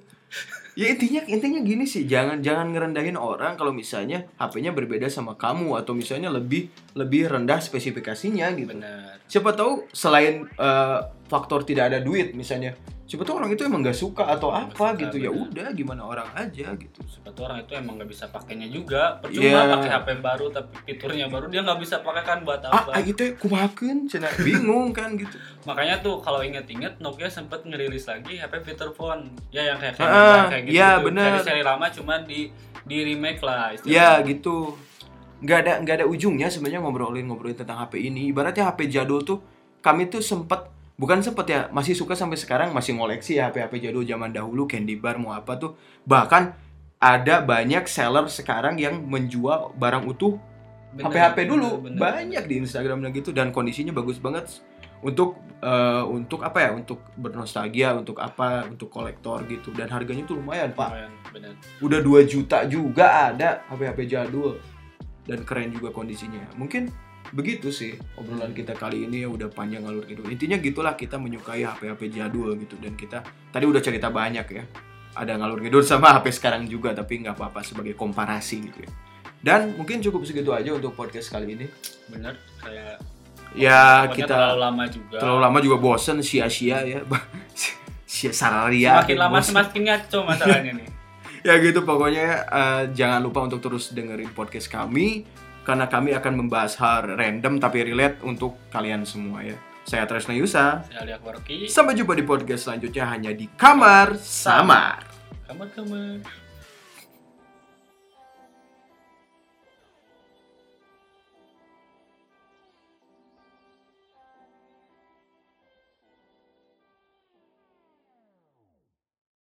[SPEAKER 1] Ya intinya intinya gini sih, jangan jangan ngerendahin orang kalau misalnya HP-nya berbeda sama kamu atau misalnya lebih lebih rendah spesifikasinya gitu.
[SPEAKER 2] Bener.
[SPEAKER 1] Siapa tahu selain eh, faktor tidak ada duit misalnya, siapa tahu orang itu emang gak suka atau
[SPEAKER 2] Nggak
[SPEAKER 1] apa
[SPEAKER 2] suka,
[SPEAKER 1] gitu. Ya
[SPEAKER 2] benar.
[SPEAKER 1] udah gimana orang aja gitu.
[SPEAKER 2] Sebab tuh orang itu emang nggak bisa pakainya juga. Percuma
[SPEAKER 1] Iya.
[SPEAKER 2] pakai HP baru tapi fiturnya baru dia nggak bisa pakai kan buat
[SPEAKER 1] Ah, ah
[SPEAKER 2] apa?
[SPEAKER 1] gitu ya, kumahakeun cenah bingung kan gitu.
[SPEAKER 2] Makanya tuh kalau inget-inget Nokia sempet ngerilis lagi HP fitur phone. Ya yang kayak kayak,
[SPEAKER 1] Ah,
[SPEAKER 2] kayak
[SPEAKER 1] iya,
[SPEAKER 2] tuh.
[SPEAKER 1] bener.
[SPEAKER 2] Seri-seri lama cuman di di remake lah.
[SPEAKER 1] Ya gitu. Nggak ada nggak ada ujungnya sebenarnya ngobrolin ngobrolin tentang HP ini. Ibaratnya HP jadul tuh kami tuh sempet bukan sempet ya masih suka sampai sekarang masih ngoleksi ya HP-HP jadul zaman dahulu candy bar mau apa tuh bahkan ada banyak seller sekarang yang menjual barang utuh
[SPEAKER 2] Bener,
[SPEAKER 1] HP-HP dulu
[SPEAKER 2] bener, bener.
[SPEAKER 1] banyak di Instagram dan gitu dan kondisinya bagus banget untuk eh, untuk apa ya untuk bernostalgia untuk apa untuk kolektor gitu dan harganya tuh lumayan pak
[SPEAKER 2] Lumayan, bener.
[SPEAKER 1] udah 2 juta juga ada HP-HP jadul dan keren juga kondisinya mungkin begitu sih obrolan kita kali ini ya udah panjang alur gitu intinya gitulah kita menyukai HP-HP jadul gitu dan kita tadi udah cerita banyak ya ada ngalur ngidul sama HP sekarang juga tapi nggak apa-apa sebagai komparasi gitu ya dan mungkin cukup segitu aja untuk podcast kali ini
[SPEAKER 2] Bener. Kayak
[SPEAKER 1] ya
[SPEAKER 2] pokoknya
[SPEAKER 1] kita
[SPEAKER 2] terlalu lama juga.
[SPEAKER 1] terlalu lama juga bosen sia-sia ya sia sararia
[SPEAKER 2] Semakin lama
[SPEAKER 1] bosen.
[SPEAKER 2] semakin ngaco masalahnya nih.
[SPEAKER 1] ya gitu pokoknya eh, jangan lupa untuk terus dengerin podcast kami karena kami akan membahas hal random tapi relate untuk kalian semua ya. Saya Tresna Yusa.
[SPEAKER 2] Saya lihat Warki.
[SPEAKER 1] Sampai jumpa di podcast selanjutnya hanya di kamar samar.
[SPEAKER 2] Kamar-kamar.